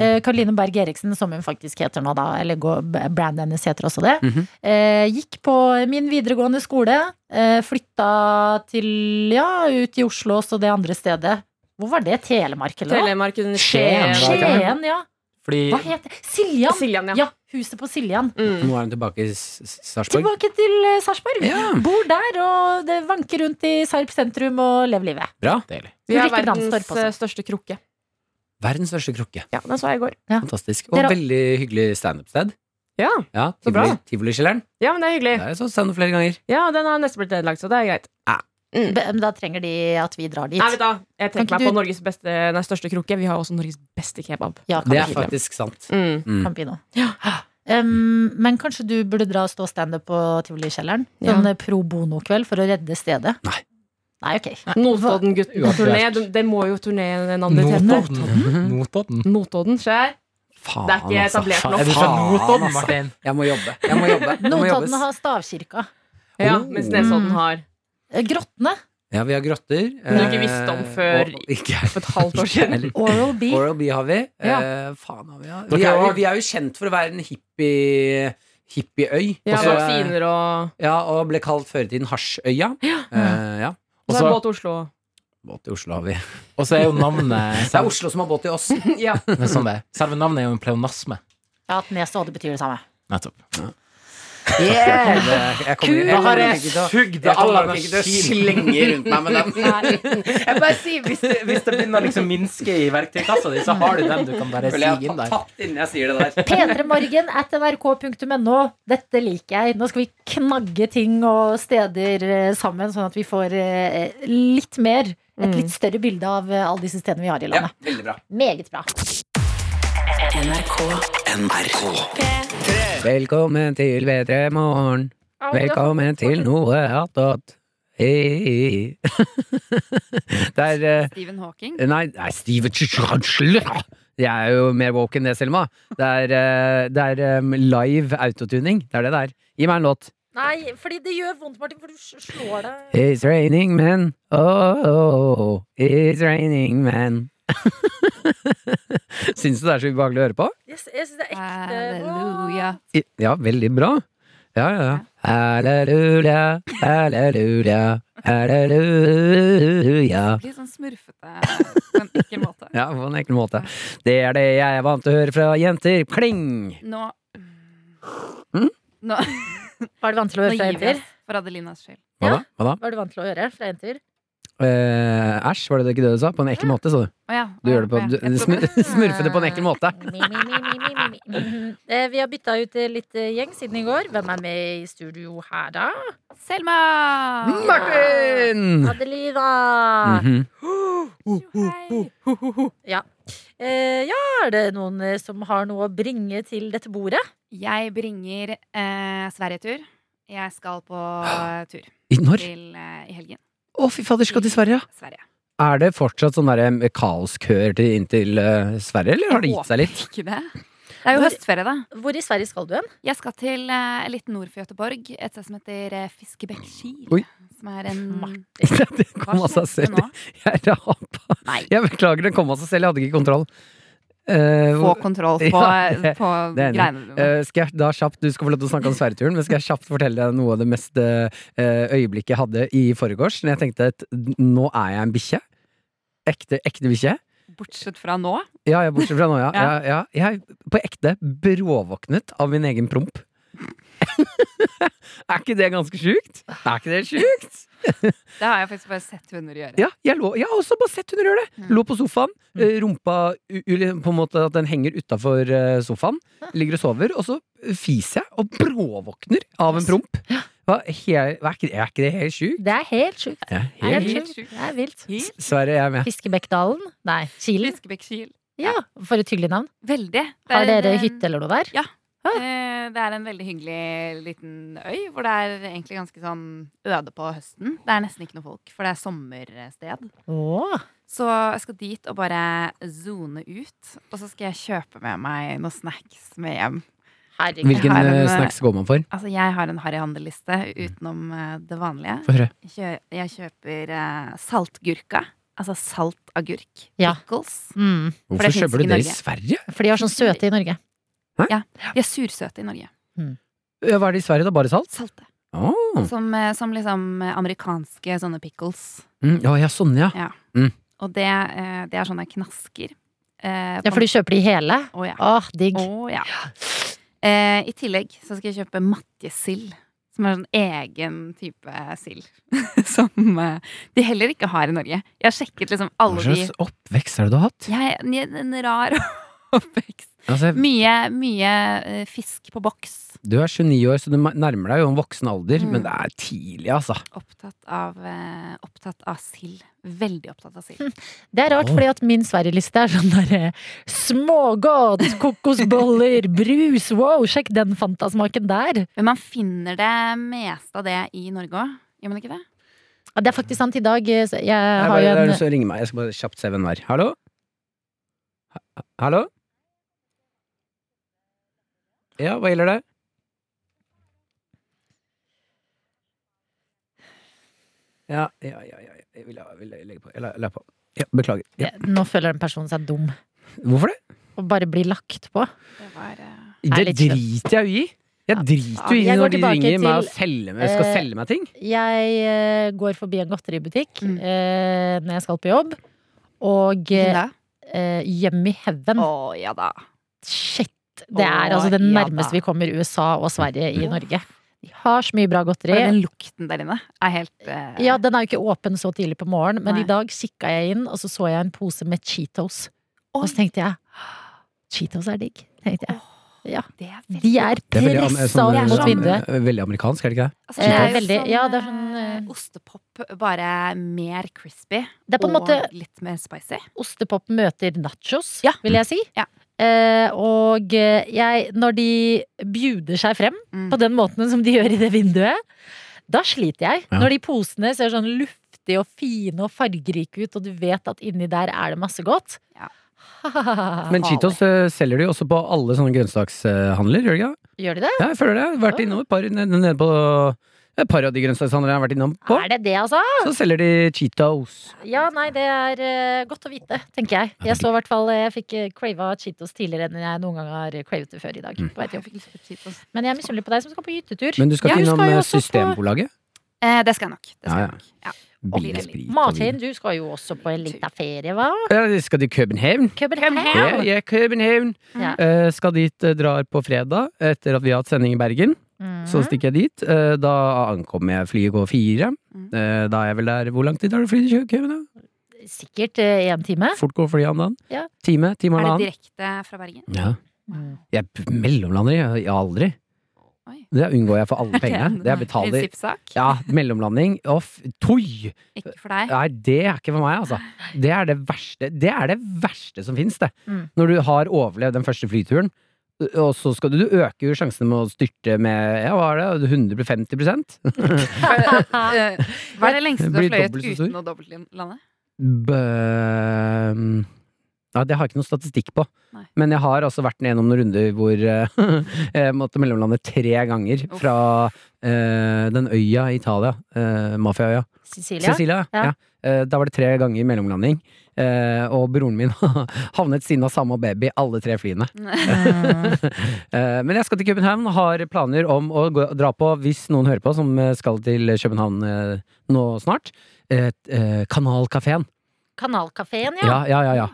Speaker 2: Eh, Caroline Berg Eriksen, som hun faktisk heter nå, da, eller går- brandet hennes heter også det,
Speaker 3: Mhm.
Speaker 2: eh, gikk på min videregående skole. Eh, flytta til, ja, ut i Oslo også, det andre stedet. Hvor var det? Telemark, eller noe?
Speaker 5: Telemark under
Speaker 4: Skien.
Speaker 5: Skien.
Speaker 2: Skien, ja.
Speaker 4: Fordi
Speaker 2: Hva het det? Siljan!
Speaker 5: Siljan, ja.
Speaker 2: Ja, huset på Siljan.
Speaker 5: Mm.
Speaker 3: Nå er hun tilbake i S- S- Sarpsborg.
Speaker 2: Tilbake til eh, Sarpsborg.
Speaker 3: Ja.
Speaker 2: Bor der og det vanker rundt i Sarp sentrum og lever livet.
Speaker 3: Bra.
Speaker 4: Deilig.
Speaker 5: Vi har
Speaker 2: Ulrikke Brandstorp
Speaker 5: verdens
Speaker 2: også.
Speaker 5: eh, største krukke.
Speaker 3: Verdens største krukke.
Speaker 5: Ja, den så jeg i går.
Speaker 3: Fantastisk. Og
Speaker 2: Dere-
Speaker 3: veldig hyggelig standup-sted.
Speaker 5: Ja,
Speaker 3: Ja,
Speaker 5: Så bra.
Speaker 3: Tivoli- Tivolikjelleren.
Speaker 5: ja, men det er hyggelig.
Speaker 3: Der har jeg så standup flere ganger.
Speaker 5: Ja, Den har nesten blitt nedlagt, så det er greit.
Speaker 2: Be- Men da trenger de at vi drar dit.
Speaker 5: Nei, vet du, hva, Jeg
Speaker 2: Kan
Speaker 5: tenker
Speaker 2: ikke
Speaker 5: meg på
Speaker 2: du-
Speaker 5: Norges beste, nei, største krukke. Vi har også Norges beste kebab.
Speaker 2: Ja,
Speaker 3: Det er
Speaker 2: Campino.
Speaker 3: faktisk sant.
Speaker 5: Mm.
Speaker 3: Mm.
Speaker 2: Campino. Um, men kanskje du burde dra og stå standup på Tivolikjelleren?
Speaker 5: Ja.
Speaker 2: Sånn eh, pro bono-kveld for å redde stedet?
Speaker 3: Nei.
Speaker 2: Nei, ok.
Speaker 5: Notodden-gutten-turné.
Speaker 4: Uaktuelt.
Speaker 5: Det må jo turneen en annen tete.
Speaker 4: Notodden. Notodden.
Speaker 5: Notodden skjer.
Speaker 3: Faen,
Speaker 5: Det er ikke
Speaker 3: altså.
Speaker 5: etablert
Speaker 4: Er
Speaker 5: nok.
Speaker 4: du fra
Speaker 3: Faen,
Speaker 4: Notodden,
Speaker 3: altså.
Speaker 4: Martin?
Speaker 3: Jeg må jobbe. Jeg må jobbe. Det må
Speaker 2: Notodden
Speaker 3: jobbes.
Speaker 2: har stavkirka.
Speaker 5: Ja, mens Nesodden har.
Speaker 2: Eh, Grottene.
Speaker 3: Ja, vi har grotter.
Speaker 5: du
Speaker 3: eh,
Speaker 5: ikke visste om før-
Speaker 3: og- ikke-
Speaker 5: For et halvt år siden.
Speaker 2: Oral B.
Speaker 3: Oral B har vi.
Speaker 5: Ja.
Speaker 3: Eh, faen har vi, ja.
Speaker 4: Dere
Speaker 3: vi, er,
Speaker 4: har-
Speaker 3: vi er jo kjent for å være en hippie hippieøy.
Speaker 5: Ja,
Speaker 3: Og så-
Speaker 5: vaksiner og
Speaker 3: ja, og ble kalt før i tiden Hasjøya. Eh, ja.
Speaker 5: Og så er båt Oslo.
Speaker 3: Båt i Oslo har vi. Det
Speaker 4: Og så er jo navnet
Speaker 3: er Oslo som har båt i oss.
Speaker 5: Ja.
Speaker 4: Men sånn det er. Selve navnet er jo en pleonasme.
Speaker 2: Ja, at nes og odde betyr det samme.
Speaker 4: Nettopp.
Speaker 3: Yeah! Jeg kommer, jeg
Speaker 4: Da har
Speaker 3: kommer nok
Speaker 4: jeg
Speaker 3: ikke til å
Speaker 4: sugd
Speaker 3: jeg
Speaker 4: all
Speaker 3: kommer nok ikke til å
Speaker 4: energien.
Speaker 3: slenge rundt meg med den.
Speaker 4: Jeg bare sier, hvis det, hvis det begynner å liksom minske i verktøykassa di, så har du den du kan bare
Speaker 3: Føler jeg
Speaker 4: sige inn
Speaker 3: har
Speaker 4: der.
Speaker 3: tatt innen jeg sier det der.
Speaker 2: P3morgen at nrk.no. Dette liker jeg. Nå skal vi knagge ting og steder eh, sammen, sånn at vi får eh, litt mer. Et litt større bilde av eh, alle disse stedene vi har i
Speaker 3: Ja,
Speaker 2: landet.
Speaker 3: veldig bra.
Speaker 2: Meget bra.
Speaker 3: Velkommen til Bedre morgen. Velkommen til noe attåt. Hei. Det er eh,
Speaker 7: Stephen Hawking.
Speaker 3: Nei, nei Steve Jeg er jo mer woke enn det, Selma. Det er, eh, det er eh, live autotuning. Det er det det er. Gi meg en låt.
Speaker 2: Nei, fordi det gjør vondt, Martin, for du slår deg.
Speaker 3: It's raining men. Oh, oh, oh. It's raining men. Syns du det er så ubehagelig å høre på?
Speaker 2: Jeg, jeg syns det
Speaker 7: Halleluja.
Speaker 3: I- Ja, veldig bra. Ja, ja, ja. Halleluja, halleluja, halleluja.
Speaker 7: Litt sånn smurfete på en ekkel måte.
Speaker 3: Ja, på en ekkel måte. Det er det jeg er vant til å høre fra jenter. Kling!
Speaker 7: Nå
Speaker 3: Mm?
Speaker 7: Nå,
Speaker 2: Var du vant til å
Speaker 7: nå
Speaker 2: høre fra
Speaker 7: gir vi
Speaker 2: jenter?
Speaker 7: oss for Adelinas skyld.
Speaker 3: Hva da? Hva da?
Speaker 2: Var du vant til å høre fra jenter?
Speaker 3: Eh, Æsj, var det ikke det du sa? På en ekkel måte, sa du.
Speaker 7: Å ja.
Speaker 3: Du gjør det på,
Speaker 7: å ja.
Speaker 3: du,
Speaker 7: Jeg tror-
Speaker 3: smur, smurfe det på en ekkel måte.
Speaker 2: Mi, mi, mi, mi, mi, mi, mi. Mhm. Eh, Vi har bytta ut eh, litt eh, gjeng siden i går. Hvem er med i studio her, da?
Speaker 7: Selma!
Speaker 2: Mm.
Speaker 3: Martin!
Speaker 7: Ah.
Speaker 2: Adelina!
Speaker 3: Mhm.
Speaker 7: Hei.
Speaker 2: Eh, ja, er det noen eh, som har noe å bringe til dette bordet?
Speaker 7: Jeg bringer eh, Sverigetur. Jeg skal på tur
Speaker 3: I- Når?
Speaker 7: til, eh, i helgen.
Speaker 3: Å, fy fader, skal til Sverige, ja.
Speaker 7: Sverige.
Speaker 3: Er det fortsatt sånn derre kaoskøer til- inn til eh, Sverige, eller har det gitt seg litt?
Speaker 7: Ikke det. Det er jo
Speaker 2: Hvor-
Speaker 7: høstferie, da.
Speaker 2: Hvor i Sverige skal du hen?
Speaker 7: Jeg skal til eh, litt nord for Göteborg, et sted som heter eh, Fiskebekkskil.
Speaker 3: Oi.
Speaker 7: Som er en
Speaker 3: Det
Speaker 7: Hva
Speaker 3: kom av seg
Speaker 7: skjedde
Speaker 3: selv.
Speaker 7: nå?
Speaker 3: Jeg rapa.
Speaker 7: Nei.
Speaker 3: Jeg beklager, det kom av seg selv. Jeg hadde ikke kontroll. Eh,
Speaker 7: Få kontroll på,
Speaker 3: Ja, det-
Speaker 7: på
Speaker 3: det er enig.
Speaker 7: greiene dine.
Speaker 3: eh, skal jeg da kjapt, Du skal få lov til å snakke om Sverreturen, men skal jeg kjapt fortelle deg noe av det mest eh, øyeblikket jeg hadde i forgårs? Når jeg tenkte at nå er jeg en bikkje. Ekte, ekte bikkje.
Speaker 7: Bortsett fra nå.
Speaker 3: Ja, ja, bortsett fra nå, ja. ja.
Speaker 7: Ja.
Speaker 3: ja, Jeg på ekte bråvåknet av min egen promp. er ikke det ganske sjukt? Er ikke det sjukt?
Speaker 7: Det har jeg faktisk bare sett hunder gjøre.
Speaker 3: Ja, jeg, lå, jeg har også bare sett hunder gjøre det.
Speaker 7: Mm.
Speaker 3: Lå på sofaen, eh, rumpa u, u, på en måte at den henger utafor eh, sofaen. Ligger og sover, og så fiser jeg og bråvåkner av en promp. Hva, hel, er, ikke, er ikke det helt sjukt?
Speaker 2: Det er helt sjukt.
Speaker 3: Ja,
Speaker 2: Det er
Speaker 7: Helt
Speaker 2: helt sjukt.
Speaker 7: sjukt.
Speaker 2: Det er vilt.
Speaker 3: Sverre, jeg er med.
Speaker 2: Fiskebekkdalen? Nei, Kilen?
Speaker 7: Fiskebekkskil.
Speaker 2: Ja, for et hyggelig navn.
Speaker 7: Veldig. Det
Speaker 2: Har
Speaker 7: er
Speaker 2: dere
Speaker 7: en-
Speaker 2: hytte eller noe der?
Speaker 7: Eh, Det er en veldig hyggelig liten øy, hvor det er egentlig ganske sånn øde på høsten. Det er nesten ikke noe folk, for det er sommersted.
Speaker 2: Åh.
Speaker 7: Så jeg skal dit og bare zone ut, og så skal jeg kjøpe med meg noen snacks med hjem.
Speaker 2: Herregud.
Speaker 7: Jeg
Speaker 3: Hvilken
Speaker 7: har en,
Speaker 3: eh,
Speaker 7: eh,
Speaker 3: snacks går man for?
Speaker 7: Altså, jeg har en harryhandelliste utenom eh, det vanlige.
Speaker 3: Få høre.
Speaker 7: Kjø jeg kjøper eh, saltgurka. Altså saltagurk.
Speaker 2: Ja.
Speaker 7: Pickles.
Speaker 2: Mm.
Speaker 7: For det
Speaker 3: Hvorfor
Speaker 7: finnes
Speaker 3: kjøper
Speaker 7: ikke
Speaker 3: du det
Speaker 7: i
Speaker 3: i
Speaker 7: Norge.
Speaker 3: Sverige?
Speaker 2: For de har sånn søte i Norge.
Speaker 7: De er sursøte i Norge.
Speaker 3: Ja, Eh, Hva er det i Sverige, da? Bare salt?
Speaker 7: Salte.
Speaker 3: Åh
Speaker 7: Som, eh, som liksom eh, amerikanske sånne pickles.
Speaker 3: Mm, ja, ja, sånn, ja.
Speaker 7: Og det, eh, det er sånne knasker. Eh,
Speaker 2: Ja, for du kjøper de hele?
Speaker 7: Å ja.
Speaker 2: Åh, digg.
Speaker 7: Å, ja. Eh, I tillegg så skal jeg kjøpe matjesild. Som er en sånn egen type sild. som eh, de heller ikke har i Norge. Jeg har sjekket liksom
Speaker 3: Hva
Speaker 7: alle de
Speaker 3: slags oppvekst er det du har hatt?
Speaker 7: Jeg er en rar oppvekst.
Speaker 3: Altså,
Speaker 7: Mye, mye eh, fisk på boks.
Speaker 3: du er 29 år, så du ma- nærmer deg jo en voksen alder,
Speaker 7: Mm.
Speaker 3: men det er tidlig, altså.
Speaker 7: Opptatt av, eh, opptatt av sild. Veldig opptatt av sild.
Speaker 2: Det er rart,
Speaker 3: Åh.
Speaker 2: fordi at min Sverige-liste er sånn derre smågodt, kokosboller, brus, wow, sjekk den Fanta-smaken der.
Speaker 7: Men man finner det meste av det i Norge òg, gjør man ikke det?
Speaker 2: Ja, det er faktisk sant. I dag eh, så Jeg
Speaker 3: Jeg
Speaker 2: har
Speaker 3: bare,
Speaker 2: jo
Speaker 3: det er
Speaker 2: en
Speaker 3: noen som ringer meg. Jeg skal bare kjapt se hvem det er. Hallo? Ha- Hallo? Ja, hva gjelder det? Ja, ja, ja, ja. Jeg vil, jeg vil legge på. Jeg la, jeg la på. Ja, beklager. Ja.
Speaker 2: Nå føler den personen seg dum
Speaker 3: Hvorfor det?
Speaker 2: og bare blir lagt på.
Speaker 7: Det var eh,
Speaker 2: er
Speaker 3: Det
Speaker 2: litt slemt.
Speaker 3: driter jeg jo i. Jeg driter jo
Speaker 2: faen.
Speaker 3: i
Speaker 2: Jeg går
Speaker 3: når de
Speaker 2: tilbake
Speaker 3: ringer meg
Speaker 2: til,
Speaker 3: og selger meg, skal
Speaker 2: eh,
Speaker 3: selge meg ting.
Speaker 2: Jeg eh, går forbi en godteributikk
Speaker 7: Mm.
Speaker 2: eh, når jeg skal på jobb, og eh,
Speaker 7: Hilda.
Speaker 2: eh, Yummy Heaven
Speaker 7: Å ja da.
Speaker 2: Shit! Det er
Speaker 7: Å,
Speaker 2: altså det
Speaker 7: ja
Speaker 2: nærmeste
Speaker 7: da.
Speaker 2: vi kommer USA og Sverige i
Speaker 7: Åh.
Speaker 2: Norge. De har så mye bra godteri.
Speaker 7: Bare den lukten der inne er helt eh,
Speaker 2: Ja, den er jo ikke åpen så tidlig på morgenen, men
Speaker 7: Nei.
Speaker 2: i dag kikka jeg inn, og så så jeg en pose med Cheetos. Og
Speaker 7: Oi,
Speaker 2: så tenkte jeg Cheetos er digg, tenkte jeg. Ja.
Speaker 7: det er
Speaker 2: De
Speaker 7: veldig
Speaker 2: er
Speaker 3: Det er veldig am-
Speaker 2: pressa
Speaker 3: sånn-
Speaker 2: opp mot
Speaker 3: sånn-
Speaker 2: vinduet.
Speaker 3: Veldig amerikansk, er det ikke det?
Speaker 7: altså, det er jo
Speaker 2: veldig-
Speaker 7: som
Speaker 2: ja, det er sånn,
Speaker 7: eh,
Speaker 2: eh,
Speaker 7: ostepop, bare mer crispy.
Speaker 2: Det er på en
Speaker 7: og
Speaker 2: måte
Speaker 7: litt mer spicy.
Speaker 2: ostepop møter nachos,
Speaker 7: Ja.
Speaker 2: vil jeg si.
Speaker 7: Ja.
Speaker 2: Eh, og eh, jeg, når de bjuder seg frem
Speaker 7: Mm.
Speaker 2: på den måten som de gjør i det vinduet, da sliter jeg.
Speaker 3: Ja.
Speaker 2: Når de posene ser sånn luftige og fine og fargerike ut, og du vet at inni der er det masse godt.
Speaker 7: Ja.
Speaker 3: Men
Speaker 7: farlig.
Speaker 3: Cheetos eh, selger de jo også på alle sånne grønnsakshandler, gjør de ikke? det?
Speaker 2: Gjør de det?
Speaker 3: Ja, jeg føler det. Jeg har Vært innom et par nede- nede på et par av de grønnsakshandlene jeg har vært innom på.
Speaker 2: Er det det, altså?
Speaker 3: Så selger de Cheetos.
Speaker 2: Ja, nei, det er eh, godt å vite, tenker jeg. Jeg så i hvert fall eh, Jeg fikk eh, crava Cheetos tidligere enn jeg noen gang har eh, cravet det før i dag. På vei til
Speaker 7: Jeg
Speaker 2: jobb.
Speaker 7: fikk lyst på Cheetos.
Speaker 2: Men jeg er misunnelig på deg som skal på gytetur.
Speaker 3: Mm. Men du skal
Speaker 2: Ja,
Speaker 3: ikke
Speaker 2: du
Speaker 3: innom
Speaker 2: skal jo
Speaker 3: eh,
Speaker 2: også på-
Speaker 3: Systembolaget?
Speaker 7: Eh, det skal jeg nok. Det
Speaker 3: Ja,
Speaker 7: skal
Speaker 3: ja.
Speaker 7: jeg nok. Ja.
Speaker 3: Billig
Speaker 7: Billig.
Speaker 3: sprit og
Speaker 2: Martin, du skal jo også på en liten ferie, hva?
Speaker 3: vin. Ja, skal til København?
Speaker 2: København!
Speaker 3: Ja, ja, København.
Speaker 2: Ja.
Speaker 3: Eh, skal dit, eh, drar på fredag etter at vi har hatt sending i Bergen.
Speaker 2: Mm. Mhm.
Speaker 3: Så stikker jeg dit. Eh, da ankommer jeg flyet går fire.
Speaker 2: Mhm.
Speaker 7: Mm.
Speaker 3: Eh, da er jeg vel der Hvor lang tid tar det å fly til København? da?
Speaker 2: Sikkert én time.
Speaker 3: Fort går flyet om dagen.
Speaker 2: Ja.
Speaker 3: Time, time og
Speaker 7: Er det
Speaker 3: halvannen.
Speaker 7: direkte fra Bergen?
Speaker 3: Ja. Jeg b- mellomlander jeg, jeg aldri.
Speaker 7: Oi.
Speaker 3: Det unngår jeg for alle pengene. Det jeg betaler
Speaker 7: Prinsippsak.
Speaker 3: Ja, mellomlanding. Å, f- toi!
Speaker 7: Ikke for deg.
Speaker 3: Nei, det er ikke for meg, altså. Det er det verste, det er det verste som fins, det.
Speaker 2: Mm.
Speaker 3: Når du har overlevd den første flyturen, og så skal du Du øker jo sjansene med å styrte med ja, hva er det, 150
Speaker 7: Eh, Hva er det lengste du
Speaker 3: Blir
Speaker 7: har fløyet
Speaker 3: dobbelt så stor.
Speaker 7: uten å dobbeltlande?
Speaker 3: Bø... mm. Ja, det har jeg ikke noe statistikk på.
Speaker 7: Nei.
Speaker 3: Men jeg har altså vært gjennom noen runder hvor eh, jeg måtte mellomlande tre ganger.
Speaker 7: Uff.
Speaker 3: Fra eh, den øya i Italia, eh, mafiaøya.
Speaker 2: Cecilia?
Speaker 3: Cecilia, ja.
Speaker 2: Ja.
Speaker 3: Eh, Da var det tre ganger mellomlanding. Eh, og broren min havnet siden av samme baby alle tre flyene. Eh, men jeg skal til København og har planer om å gå, dra på, hvis noen hører på, som eh, skal til København eh, nå snart, et, eh, Kanalkafeen.
Speaker 2: Kanalkafeen, ja.
Speaker 3: Ja, ja, ja. ja.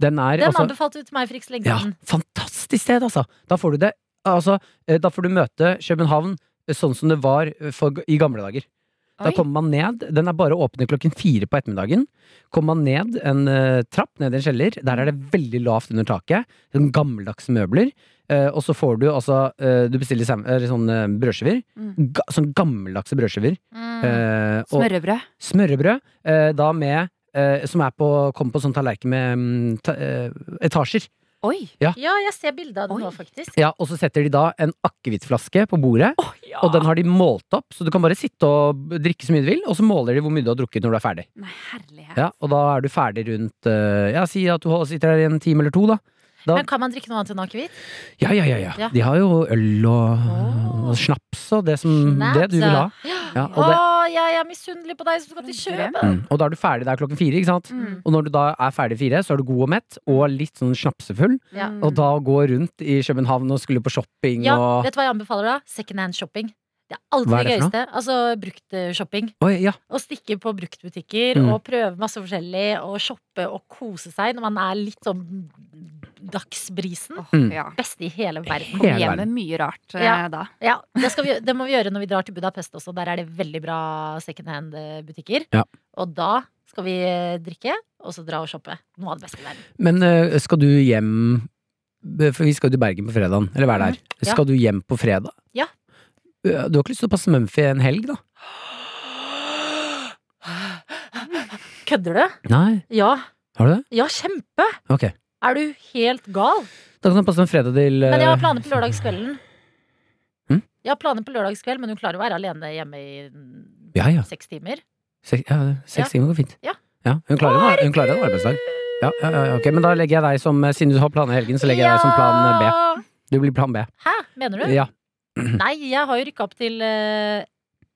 Speaker 3: Den er
Speaker 2: Den
Speaker 3: altså-
Speaker 2: anbefalte du til meg for ikke så lenge
Speaker 3: ja,
Speaker 2: siden.
Speaker 3: fantastisk sted, altså! Da får du det Altså, eh, da får du møte København eh, sånn som det var eh, for, i gamle dager. Da
Speaker 7: Oi.
Speaker 3: kommer man ned. Den er bare åpne klokken fire på ettermiddagen. Kommer man ned en eh, trapp, ned i en kjeller. Der er det veldig lavt under taket. Sånn gammeldagse møbler. Eh, og så får du altså eh, Du bestiller sam- eller sånn eh, brødskiver.
Speaker 7: Mm.
Speaker 3: Ga, sånn gammeldagse brødskiver.
Speaker 2: Mm.
Speaker 3: Eh, og
Speaker 7: Smørrebrød.
Speaker 3: smørrebrød. Eh, da med eh, Som er på, kommer på sånn tallerken med mm, ta, eh, etasjer.
Speaker 7: Oi!
Speaker 2: Ja, jeg ser bilde av det nå,
Speaker 7: Oi.
Speaker 2: faktisk.
Speaker 3: Ja, og så setter de da en akevittflaske på bordet, og den har de målt opp, så du kan bare sitte og drikke så mye du vil, og så måler de hvor mye du har drukket når du er ferdig.
Speaker 7: Nei, herlighet.
Speaker 3: Ja, og da er du ferdig rundt eh, Ja, si at du hold- sitter her i en time eller to, da. da
Speaker 2: Men kan man drikke noe annet enn akevitt?
Speaker 3: ja, ja, ja,
Speaker 2: Ja.
Speaker 3: ja. De har jo øl og, og snaps og Mm, det som
Speaker 2: Snaps,
Speaker 3: Det du vil ha. Ja, og, det,
Speaker 2: Å, jeg er misunnelig på deg som skal til Kjøben!
Speaker 3: mm, og da er du ferdig der klokken fire, ikke sant?
Speaker 7: Mm.
Speaker 3: Og når du da er ferdig fire, så er du god og mett, og litt sånn snapsefull.
Speaker 2: Ja.
Speaker 7: Mm.
Speaker 3: Og da gå rundt i København og skulle på shopping
Speaker 2: Ja,
Speaker 3: og
Speaker 2: vet du hva jeg anbefaler da? Second hand shopping. Det er alltid
Speaker 3: Hva er
Speaker 2: det
Speaker 3: det for
Speaker 2: gøyeste. Altså bruktshopping.
Speaker 3: Oi, ja.
Speaker 2: Å stikke på bruktbutikker
Speaker 3: Mm.
Speaker 2: og prøve masse forskjellig, og shoppe og kose seg når man er litt sånn dagsbrisen.
Speaker 7: Åh,
Speaker 3: Mm.
Speaker 7: ja.
Speaker 2: Beste i hele verden.
Speaker 3: Hele
Speaker 7: Kom hjem
Speaker 3: verden.
Speaker 7: med mye rart eh,
Speaker 2: Ja.
Speaker 7: da.
Speaker 2: Ja, det, skal vi, gjø- det må vi gjøre når vi drar til Budapest også. Der er det veldig bra secondhand-butikker.
Speaker 3: Ja.
Speaker 2: Og da skal vi eh, drikke, og så dra og shoppe. Noe av det beste i verden.
Speaker 3: Men eh, skal du hjem For vi skal jo til Bergen på fredagen, eller være der.
Speaker 2: Ja.
Speaker 3: Skal du hjem på fredag? Eh,
Speaker 2: Ja.
Speaker 3: Du har ikke lyst til å passe Mumphy en helg, da?
Speaker 2: Kødder du?
Speaker 3: Nei.
Speaker 2: Ja.
Speaker 3: Har du det?
Speaker 2: Ja, kjempe!
Speaker 3: Ok.
Speaker 2: Er du helt gal?
Speaker 3: Da kan du passe en sånn fredag til
Speaker 2: Men jeg har
Speaker 3: eh,
Speaker 2: planer på lørdagskvelden.
Speaker 3: Hm?
Speaker 2: Jeg har planer på lørdagskveld, men hun klarer å være alene hjemme i
Speaker 3: Ja, ja.
Speaker 2: seks timer.
Speaker 3: Seks, ja, seks
Speaker 2: Ja.
Speaker 3: timer går fint.
Speaker 2: Ja.
Speaker 3: hun, klarer en, hun klarer en arbeidsdag. Ja, ja, ja, ok, Men da legger jeg deg som eh, Siden du har planer i helgen, så legger jeg deg som plan eh, B. Du blir plan B.
Speaker 2: Hæ, mener du?
Speaker 3: Ja,
Speaker 2: Nei, jeg har jo rykka opp til eh,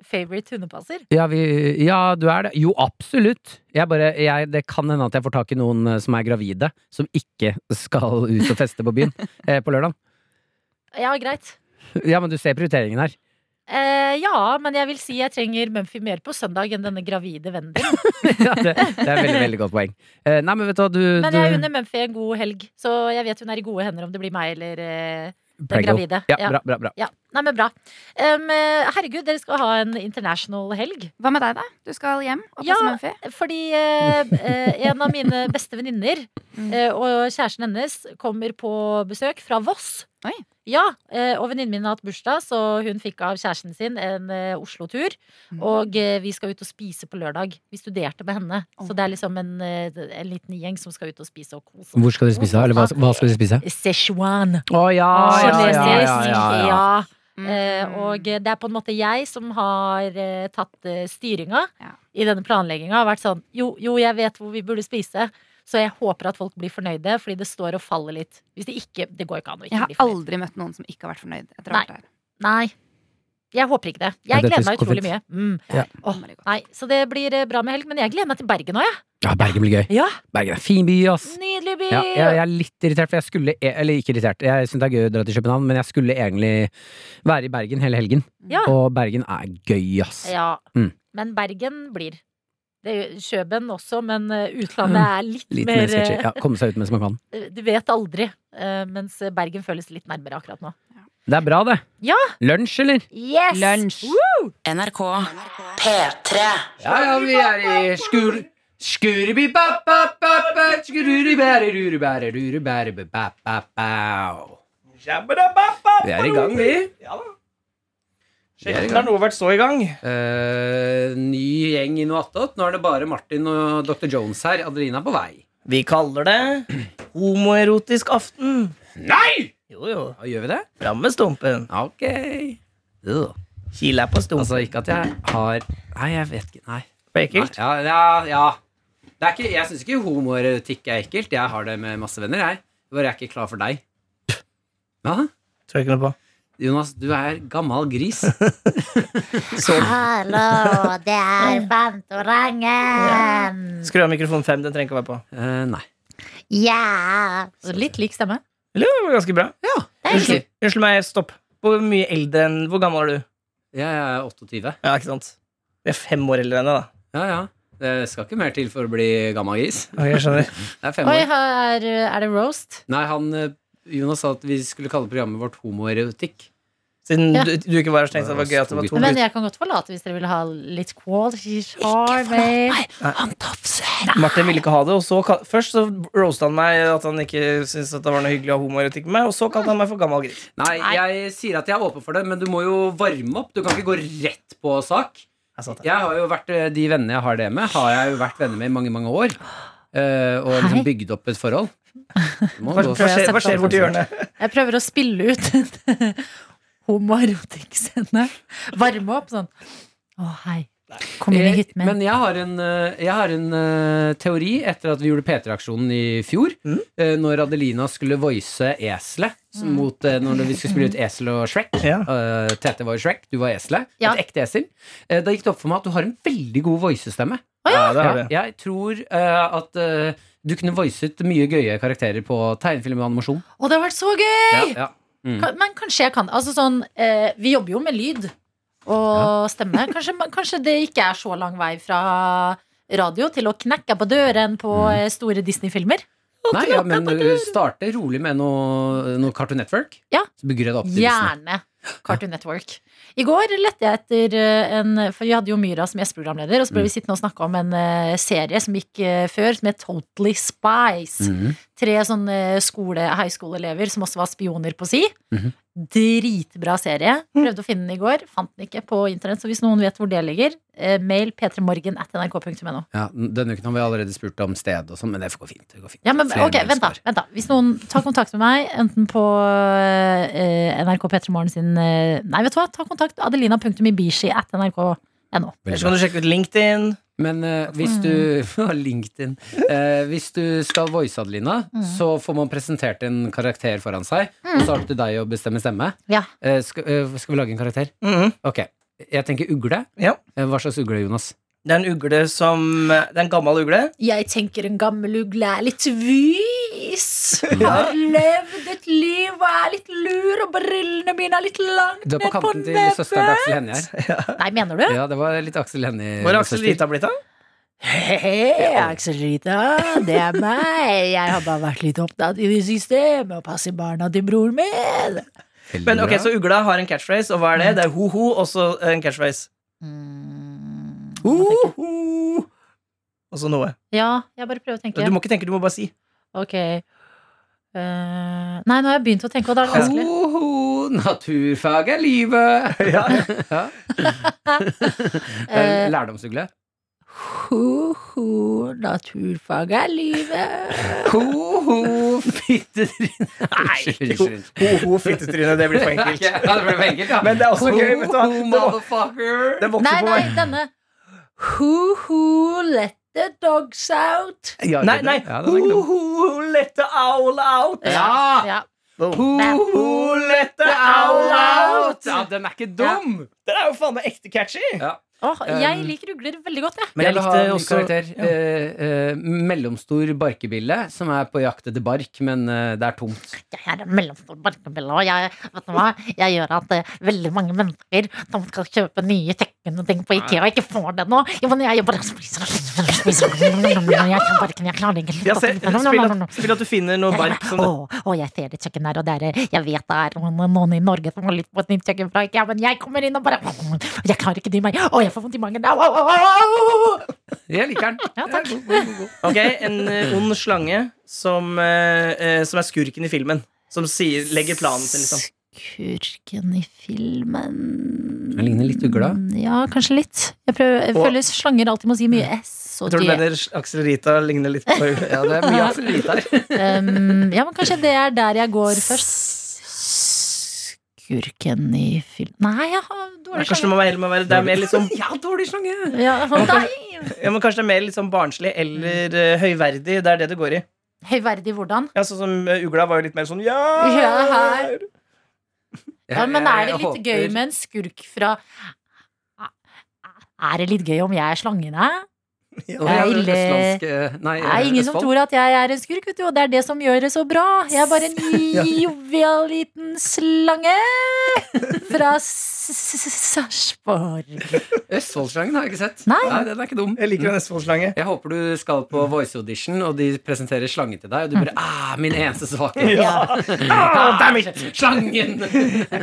Speaker 2: favorite hundepasser.
Speaker 3: ja, vi, ja du er det. Jo, absolutt. Jeg bare, jeg, det kan hende at jeg får tak i noen eh, som er gravide, som ikke skal ut og feste på byen eh, på lørdag.
Speaker 2: Ja, greit.
Speaker 3: Ja, men du ser prioriteringen her.
Speaker 2: Eh, ja, men jeg vil si jeg trenger Mumphy mer på søndag enn denne gravide vennen din.
Speaker 3: Ja, det, det er et veldig, veldig godt poeng. Eh, nei, men vet du hva, du,
Speaker 2: Men jeg
Speaker 3: du
Speaker 2: unner Mumphy en god helg, så jeg vet hun er i gode hender om det blir meg eller eh, den
Speaker 3: Preggo.
Speaker 2: gravide.
Speaker 3: Ja,
Speaker 2: Ja.
Speaker 3: bra, bra, bra.
Speaker 2: Ja, Nei, men bra. Em, eh, herregud, dere skal ha en international helg.
Speaker 7: Hva med deg, da? Du skal hjem og passe
Speaker 2: Ja.
Speaker 7: Mumphy?
Speaker 2: Fordi eh, eh, en av mine beste venninner
Speaker 7: Mm.
Speaker 2: eh, og kjæresten hennes kommer på besøk fra Voss.
Speaker 7: Oi.
Speaker 2: Ja, eh, og venninnen min har hatt bursdag, så hun fikk av kjæresten sin en eh, Oslo-tur.
Speaker 7: Mm.
Speaker 2: Og eh, vi skal ut og spise på lørdag. Vi studerte med henne.
Speaker 7: Åh.
Speaker 2: Så det er liksom en, eh, en liten gjeng som skal ut og spise og kose.
Speaker 3: Hvor skal dere spise? da? Eller hva, hva skal dere spise?
Speaker 2: Sichuan.
Speaker 3: Å ja, Ah, ja, ja, ja, ja, ja.
Speaker 7: Mm.
Speaker 2: Eh, Og eh, det er på en måte jeg som har eh, tatt eh, styringa
Speaker 7: Ja.
Speaker 2: i denne planlegginga. Har vært sånn jo, jo, jeg vet hvor vi burde spise, så jeg håper at folk blir fornøyde, fordi det står og faller litt. Hvis det ikke Det går ikke an å
Speaker 7: Jeg
Speaker 2: ikke
Speaker 7: har
Speaker 2: bli fornøyd.
Speaker 7: aldri møtt noen som ikke har vært fornøyd etter å ha
Speaker 2: Nei.
Speaker 7: vært her.
Speaker 2: Nei. Jeg håper ikke det.
Speaker 3: Ja,
Speaker 2: Jeg
Speaker 3: dette
Speaker 2: gleder meg
Speaker 3: går
Speaker 2: utrolig mye.
Speaker 3: fint.
Speaker 2: Mm.
Speaker 3: Ja.
Speaker 2: Åh, nei, så det blir eh, bra med helg, men jeg gleder meg til Bergen òg, jeg.
Speaker 3: Ja, Bergen blir gøy.
Speaker 2: Ja.
Speaker 3: Bergen er fin by, ass.
Speaker 2: Nydelig by!
Speaker 3: Ja, jeg, jeg er litt irritert, for jeg skulle e- Eller ikke irritert, jeg syns det er gøy å dra til København, men jeg skulle egentlig være i Bergen hele helgen.
Speaker 2: Ja.
Speaker 3: Og Bergen er gøy, ass.
Speaker 2: Ja.
Speaker 3: Mm.
Speaker 2: Men Bergen blir. Det er jo Kjøben også, men eh, utlandet er litt,
Speaker 3: Mm. Litt mer
Speaker 2: mer,
Speaker 3: sketchy.
Speaker 2: eh,
Speaker 3: Ja, komme seg ut mens man kan.
Speaker 2: Du vet aldri. eh, Mens Bergen føles litt nærmere akkurat nå.
Speaker 3: Det er bra, det.
Speaker 2: Ja.
Speaker 3: Lunsj, eller?
Speaker 2: Yes!
Speaker 7: Lunsj!
Speaker 8: NRK P3
Speaker 3: Ja, ja, vi er i skur... Skuribibabababa, skuribibærerurebærerurebærebæbabau. Vi er i gang, vi.
Speaker 9: Sjelden har noe vært så i gang.
Speaker 3: Eh, ny gjeng i noe attåt. Nå er det bare Martin og Dr. Jones her. Adelina er på vei.
Speaker 9: Vi kaller det homoerotisk aften.
Speaker 3: Nei!
Speaker 9: Jo, jo.
Speaker 3: Ja, gjør vi det?
Speaker 9: Fram med stumpen.
Speaker 3: Ja, Ok. Ugh.
Speaker 9: Kil er på
Speaker 3: Altså,
Speaker 9: stumpen.
Speaker 3: ikke at jeg har Nei, jeg vet ikke. Nei.
Speaker 9: Det er ekkelt.
Speaker 3: Nei, ja, ja, ja. Det er ikke, jeg syns ikke homoerotikk er ekkelt. Jeg har det med masse venner, jeg. Bare jeg er ikke klar for deg. Hva?
Speaker 9: Tror jeg ikke noe på.
Speaker 3: Jonas, du er gammel gris.
Speaker 2: Hallo, det er Fantorangen!
Speaker 9: Skru av mikrofon fem, den trenger ikke å være på.
Speaker 3: Eh, nei.
Speaker 2: Ja! Litt lik stemme.
Speaker 9: Eller det var ganske bra. Unnskyld, unnskyld meg, stopp. Hvor mye eldre enn Hvor gammel er du?
Speaker 3: Jeg er 28.
Speaker 9: Ja, ikke sant? Vi er fem år eldre enn deg, da.
Speaker 3: Ja, ja. Det skal ikke mer til for å bli gammel gris.
Speaker 9: Ok, jeg skjønner.
Speaker 3: Det er fem
Speaker 2: Oi,
Speaker 3: år.
Speaker 2: her er, er det roast?
Speaker 3: Nei, han eh, Jonas sa at vi skulle kalle programmet vårt homoerotikk.
Speaker 9: Siden
Speaker 2: Ja.
Speaker 9: du, du ikke var her, så tenkte jeg det var gøy at det var to
Speaker 2: Men
Speaker 9: gutter.
Speaker 2: jeg kan godt forlate hvis dere vil ha litt quality charm.
Speaker 9: Martin ville ikke ha det, og så kal- først så roasta han meg at han ikke syntes at det var noe hyggelig å ha homoerotikk med meg, og så kalte han meg for gammel gris.
Speaker 3: Nei, jeg sier at jeg er åpen for det, men du må jo varme opp. Du kan ikke gå rett på sak.
Speaker 9: Jeg sa det.
Speaker 3: Jeg har jo vært, eh, De vennene jeg har det med, har jeg jo vært venner med i mange mange år. eh, og
Speaker 2: Hei.
Speaker 3: liksom bygd opp et forhold. Det må
Speaker 9: Hva,
Speaker 3: gå-
Speaker 9: hva skjer, hva skjer borti hjørnet?
Speaker 2: Jeg prøver å spille ut en homoerotikk-scene. Varme opp sånn. Å, hei. Kom inn i
Speaker 3: Eh,
Speaker 2: hytten min.
Speaker 3: Men jeg har en, eh, jeg har en eh, teori etter at vi gjorde P3-aksjonen i fjor.
Speaker 9: Mm.
Speaker 3: eh, når Adelina skulle voice eselet s-
Speaker 2: Mm.
Speaker 3: mot eh, når vi skulle spille ut Esel og Shrek.
Speaker 9: Ja.
Speaker 3: Eh, Tete var jo Shrek, du var eselet.
Speaker 2: Ja.
Speaker 3: Et ekte esel. Eh, da gikk det opp for meg at du har en veldig god voicestemme.
Speaker 9: Ja, det har
Speaker 3: Ja,
Speaker 9: vi.
Speaker 3: jeg tror eh, at eh, du kunne voicet mye gøye karakterer på tegnefilm og animasjon.
Speaker 2: Å, det har vært så gøy!
Speaker 3: Ja, ja.
Speaker 2: Ka- Men kanskje jeg kan Altså sånn, eh, vi jobber jo med lyd Og stemme kanskje, kanskje det ikke er så lang vei fra radio Til å knekke på døren på eh, store Disney-filmer
Speaker 3: Nei, ja, men uh, starte rolig med noe, noe Cartoon Network.
Speaker 2: Ja.
Speaker 3: Så bygger jeg det opp til Disney.
Speaker 2: Gjerne Cartoon Network. I går lette jeg etter eh, en For vi hadde jo Myra som gjesteprogramleder, og så
Speaker 3: Mm.
Speaker 2: ble vi sittende og snakke om en eh, serie som gikk eh, før, som het Totally Spice.
Speaker 3: Mhm.
Speaker 2: Tre sånne skole, high school-elever som også var spioner på si.
Speaker 3: Mhm.
Speaker 2: Dritbra serie. Prøvde å finne den i går, fant den ikke på internett. Så hvis noen vet hvor det ligger, eh, mail p3morgen at nrk.no.
Speaker 3: Ja, denne uken har vi allerede spurt om sted og sånn, men det går fint. Det går fint.
Speaker 2: Ja, men
Speaker 3: Flere
Speaker 2: ok, vent da,
Speaker 3: mennesker.
Speaker 2: vent da Hvis noen tar kontakt med meg Enten på eh, NRK P3 Morgen sin eh, Nei, vet du hva? Ta kontakt adelina.mibishi at nrk.no
Speaker 3: Veldig
Speaker 9: Ellers
Speaker 3: bra.
Speaker 9: kan du sjekke ut LinkedIn.
Speaker 3: Men eh, hvis du LinkedIn. Eh, hvis du skal voice Adelina, så får man presentert en karakter foran seg. Og så er det til deg å bestemme stemme.
Speaker 2: Ja.
Speaker 3: Eh, skal, eh, skal vi lage en karakter?
Speaker 9: Mhm.
Speaker 3: Ok. Jeg tenker ugle.
Speaker 9: Ja.
Speaker 3: Eh, Hva slags ugle, Jonas?
Speaker 9: Det er en ugle som Det er en gammel ugle.
Speaker 2: Jeg tenker en gammel ugle er litt vis Har levd et liv og er litt lur Og brillene mine er litt langt
Speaker 3: Du er på kanten til søsteren til Aksel Hennie her.
Speaker 2: Nei, mener du?
Speaker 3: Ja, det var litt Aksel Hennie.
Speaker 9: Hvor er Aksel
Speaker 3: søster.
Speaker 9: Rita blitt av?
Speaker 2: Hei, Aksel Rita, det er meg Jeg har bare vært litt opptatt i det siste Med å passe barna til broren min
Speaker 3: Veldig
Speaker 9: Men ok,
Speaker 3: bra.
Speaker 9: Så ugla har en catchphrase, og hva er det? Det er ho-ho, og så en catchphrase.
Speaker 2: Mm,
Speaker 3: Uh!
Speaker 9: Ho-ho! Og så noe.
Speaker 2: Ja, jeg bare prøver å tenke
Speaker 9: Du må ikke tenke, du må bare si.
Speaker 2: Ok Eh, Nei, nå har jeg begynt å tenke, og da er det vanskelig.
Speaker 3: Hoho, naturfag er livet!
Speaker 9: Ja.
Speaker 3: Ja.
Speaker 2: Eh,
Speaker 3: Lærdomsugle.
Speaker 2: Ho-ho, naturfag er livet.
Speaker 3: Ho-ho, fittetryne. Unnskyld, unnskyld.
Speaker 9: Ho-ho, fittetryne. Det blir for enkelt.
Speaker 3: Ja, det ble for enkelt, ja.
Speaker 9: Men det er også gøy, vet du hva.
Speaker 3: Ho-ho,
Speaker 9: Det var-
Speaker 3: motherfucker.
Speaker 9: Det
Speaker 2: Nei,
Speaker 9: vokser på
Speaker 2: nei,
Speaker 9: meg.
Speaker 2: denne. Ho-ho, let the dogs out.
Speaker 3: Ja,
Speaker 9: Nei, nei.
Speaker 3: Ja, den er ikke dum.
Speaker 9: Ho-ho, let the owl out.
Speaker 3: Ja!
Speaker 2: Ja.
Speaker 9: Ho-ho, let the owl out.
Speaker 3: Ja, den er ikke dum!
Speaker 9: Den er jo faen meg ekte catchy.
Speaker 2: Åh, jeg
Speaker 3: Um,
Speaker 2: liker ugler veldig godt, jeg.
Speaker 9: Men jeg
Speaker 3: vil ha en
Speaker 9: likte
Speaker 3: ny
Speaker 9: også
Speaker 3: karakter. Eh, eh, mellomstor barkebille som er på jakt etter bark, men eh, det er tomt.
Speaker 2: Jeg er en mellomstor barkebille, og jeg, vet du hva? jeg gjør at eh, veldig mange mennesker som skal kjøpe nye tekken og ting på Ikea, og ikke får det nå. Jo, men jeg bare spiser og spiser og spiser. Jeg kan barken, jeg klarer ikke.
Speaker 9: Ja, se, spill, at, spill at du finner noe bark som
Speaker 2: Å, å, jeg ser et kjøkken der, og der, jeg vet det er noen, noen i Norge som har lyst på et nytt kjøkken fra IKEA, men jeg kommer inn og bare Jeg klarer ikke dy meg. Å, jeg får vondt i magen. Au, au, au, au!
Speaker 3: Jeg liker den.
Speaker 2: Ja, takk.
Speaker 9: Ok, en eh, ond slange som, eh, eh, som er skurken i filmen. Som sier, legger planen sin, liksom.
Speaker 2: Skurken i filmen
Speaker 3: Den ligner litt ugla.
Speaker 2: Ja, kanskje litt. Jeg, prøver, jeg
Speaker 9: Og-
Speaker 2: føler slanger alltid må si mye S og
Speaker 9: Jeg tror du
Speaker 2: D.
Speaker 9: mener Aksel Rita ligner litt på
Speaker 3: Ja, det er mye Aksel Rita her.
Speaker 2: Um, ja, men kanskje det er der jeg går først. Skurken i film... Nei, jeg har
Speaker 9: Nei,
Speaker 2: dårlig
Speaker 9: Kanskje det må være, heller må være Det er mer liksom
Speaker 3: Ja, dårlig slange!
Speaker 2: Ja, for deg.
Speaker 9: Ja, men kanskje det er mer liksom barnslig eller eh, høyverdig. Det er det det går i.
Speaker 2: Høyverdig hvordan?
Speaker 9: Ja, Sånn som eh, ugla var jo litt mer sånn Ja!
Speaker 2: Ja, her. Ja,
Speaker 3: Jeg-
Speaker 2: men er det
Speaker 3: jeg
Speaker 2: litt
Speaker 3: håper-
Speaker 2: gøy med en skurk fra Er det litt gøy om jeg er slangen, hæ?
Speaker 3: Å, ja,
Speaker 2: Eile.
Speaker 3: østlandske- eh, Nei,
Speaker 2: Det er ingen som tror at jeg er en skurk, vet du, og det er det som gjør det så bra. Jeg er bare en jovial liten slange fra S- S- S- Sarpsborg.
Speaker 3: Østfoldslangen har jeg ikke sett.
Speaker 2: Nei.
Speaker 3: den er ikke dum.
Speaker 9: Jeg liker en Østfoldslange.
Speaker 3: Jeg håper du skal på voice audition, og de presenterer slangen til deg, og du bare ah, 'Min eneste svakhet'.
Speaker 2: Ja.
Speaker 9: Ah, damn it!
Speaker 3: Slangen!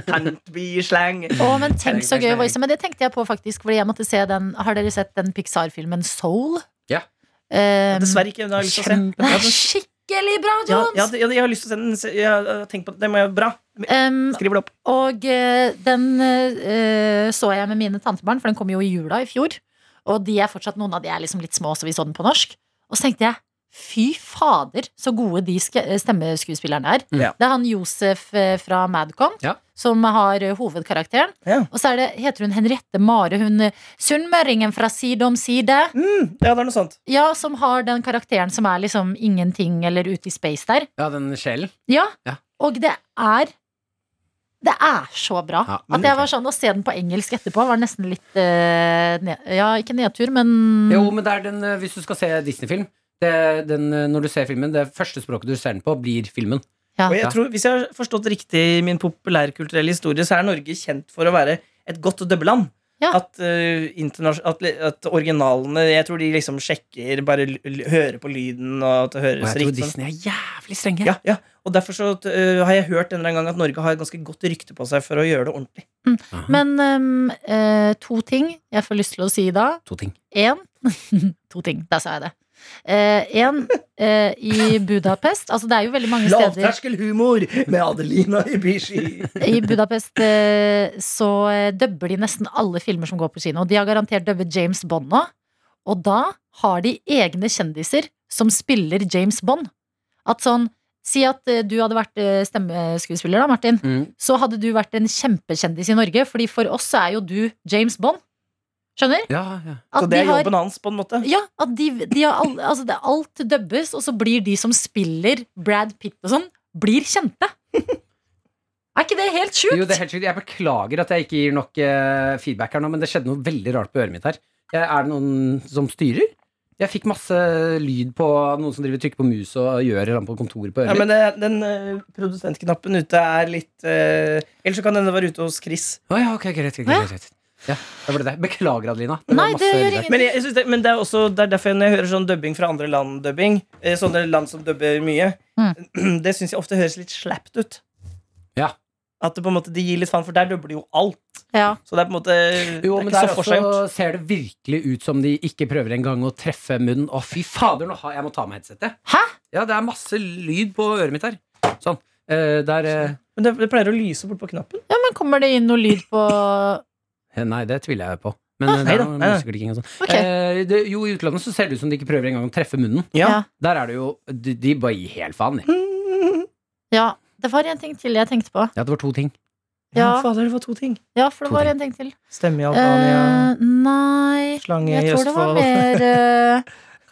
Speaker 9: Can't be slang.
Speaker 2: Å, men tenk så gøy
Speaker 3: Slang.
Speaker 2: voice. Men det tenkte jeg på faktisk, fordi jeg måtte se den Har dere sett den Pixar-filmen Soul?
Speaker 3: Ja.
Speaker 2: Um,
Speaker 9: Dessverre ikke. men Jeg har lyst til å se.
Speaker 2: Den er skikkelig bra,
Speaker 9: Ja,
Speaker 2: Jones!
Speaker 9: ja, det- ja, jeg har lyst til å se den. Se- Jeg har tenkt på det. Det må jeg Bra.
Speaker 2: Um,
Speaker 9: Skriv det opp.
Speaker 2: Og eh, den eh, så jeg med mine tantebarn, for den kom jo i jula i fjor. Og de er fortsatt, noen av de er liksom litt små, så vi så den på norsk. Og så tenkte jeg fy fader, så gode de ske- eh, stemmeskuespillerne er.
Speaker 3: Ja.
Speaker 2: Det er han Josef eh, fra Madcon
Speaker 3: Ja.
Speaker 2: som har eh, hovedkarakteren.
Speaker 9: Ja.
Speaker 2: Og så er det, heter hun Henriette Mare, hun eh, sunnmøringen fra Side om side.
Speaker 9: Mm, ja, det er noe sånt.
Speaker 2: Ja, som har den karakteren som er liksom ingenting eller ute i space der.
Speaker 3: Ja, den sjelen.
Speaker 2: Ja.
Speaker 3: Ja.
Speaker 2: Og det er Det er så bra.
Speaker 3: Ja,
Speaker 2: at jeg var sånn Å se den på engelsk etterpå var nesten litt eh, ned, Ja, ikke nedtur, men
Speaker 3: Jo, men det er den, eh, hvis du skal se Disney-film det, den, eh, Når du ser filmen, det første språket du ser den på, blir filmen.
Speaker 9: Og jeg
Speaker 3: Ja.
Speaker 9: tror, Hvis jeg har forstått riktig min populærkulturelle historie, så er Norge kjent for å være et godt dubbeland.
Speaker 2: Ja.
Speaker 9: At, eh, internasj- at, li- at originalene Jeg tror de liksom sjekker, bare l l hører på lyden, og at
Speaker 3: Og
Speaker 9: det
Speaker 3: jeg
Speaker 9: høres
Speaker 3: tror
Speaker 9: riktig ut.
Speaker 3: Disney er sånn. jævlig strenge.
Speaker 9: Ja, ja. Og derfor så eh, har jeg hørt en eller annen gang at Norge har et ganske godt rykte på seg for å gjøre det ordentlig.
Speaker 2: Men ehm, eh, to ting jeg får lyst til å si da.
Speaker 3: To ting.
Speaker 2: Én To ting, der sa jeg det. Én i Budapest Altså, det er jo veldig mange steder
Speaker 9: Lavterskelhumor med Adelina Ibishi.
Speaker 2: I Budapest eh, så eh, dubber de nesten alle filmer som går på kino. De har garantert dubbet James Bond nå. Og da har de egne kjendiser som spiller James Bond. At sånn Si at eh, du hadde vært eh, stemmeskuespiller, da, Martin.
Speaker 3: Mm.
Speaker 2: Så hadde du vært en kjempekjendis i Norge, fordi for oss så er jo du James Bond. Skjønner?
Speaker 3: Ja, ja.
Speaker 9: Så
Speaker 2: At
Speaker 9: det
Speaker 2: de
Speaker 9: er
Speaker 2: har-
Speaker 9: jobben hans, på en måte.
Speaker 2: Ja, at de, de har all, altså det, alt dubbes, og så blir de som spiller Brad Pitt og sånn, blir kjente. Er ikke det helt sjukt?
Speaker 3: Jo, det er helt sjukt. Jeg beklager at jeg ikke gir nok eh, feedback her nå, men det skjedde noe veldig rart på øret mitt her. Jeg, er det noen som styrer? Jeg fikk masse lyd på noen som driver og trykker på mus og gjør eller annet på kontoret på
Speaker 9: Ja,
Speaker 3: øret
Speaker 9: men
Speaker 3: mitt.
Speaker 9: det, den eh, produsentknappen ute er litt uh, Eller så kan denne være ute hos Chris.
Speaker 3: Å ja, ok, greit, greit, greit, greit. Ja, det var det. Beklager, Adelina. Det var
Speaker 2: Nei, det
Speaker 3: masse
Speaker 2: gjør
Speaker 3: lyd der.
Speaker 2: ingenting.
Speaker 9: Men, jeg, jeg synes det, men det, er også, det er derfor når jeg hører sånn dubbing fra andre land-dubbing, eh, sånne land som dubber mye,
Speaker 2: Mm.
Speaker 9: det syns jeg ofte høres litt slapt ut.
Speaker 3: Ja.
Speaker 9: At det på en måte, de gir litt faen, for der dubber de jo alt.
Speaker 2: Ja.
Speaker 9: Så det er på en måte
Speaker 3: Jo,
Speaker 9: det er
Speaker 3: men
Speaker 9: ikke
Speaker 3: der
Speaker 9: så forseggjort.
Speaker 3: også ser det virkelig ut som de ikke prøver engang å treffe munnen. Å, fy fader, nå har jeg må ta av meg headsetet.
Speaker 2: Hæ?
Speaker 3: Ja, det er masse lyd på øret mitt her. Sånn. Eh, der eh,
Speaker 9: Men det, det pleier å lyse bort på knappen.
Speaker 2: Ja, men kommer det inn noe lyd på
Speaker 3: eh, Nei, det tviler jeg på. Men eh, det
Speaker 9: nei
Speaker 3: er
Speaker 9: da,
Speaker 3: noe
Speaker 9: nei da.
Speaker 3: museklikking og sånn.
Speaker 2: Ok.
Speaker 3: Eh, det, jo, i utlandet så ser det ut som de ikke prøver engang å treffe munnen.
Speaker 2: Ja.
Speaker 3: Der er det jo De, de bare gir helt faen. de.
Speaker 2: Ja, det var en ting til jeg tenkte på.
Speaker 3: Ja, det var to ting.
Speaker 9: Ja,
Speaker 2: Ja.
Speaker 9: fader, det var to ting.
Speaker 2: Ja, for det
Speaker 3: To
Speaker 2: var
Speaker 3: ting.
Speaker 2: en ting til.
Speaker 9: Stemme i Albania,
Speaker 2: Eh, nei
Speaker 9: slange
Speaker 2: Jeg
Speaker 9: i
Speaker 2: tror det var
Speaker 9: Østfold.
Speaker 2: mer eh,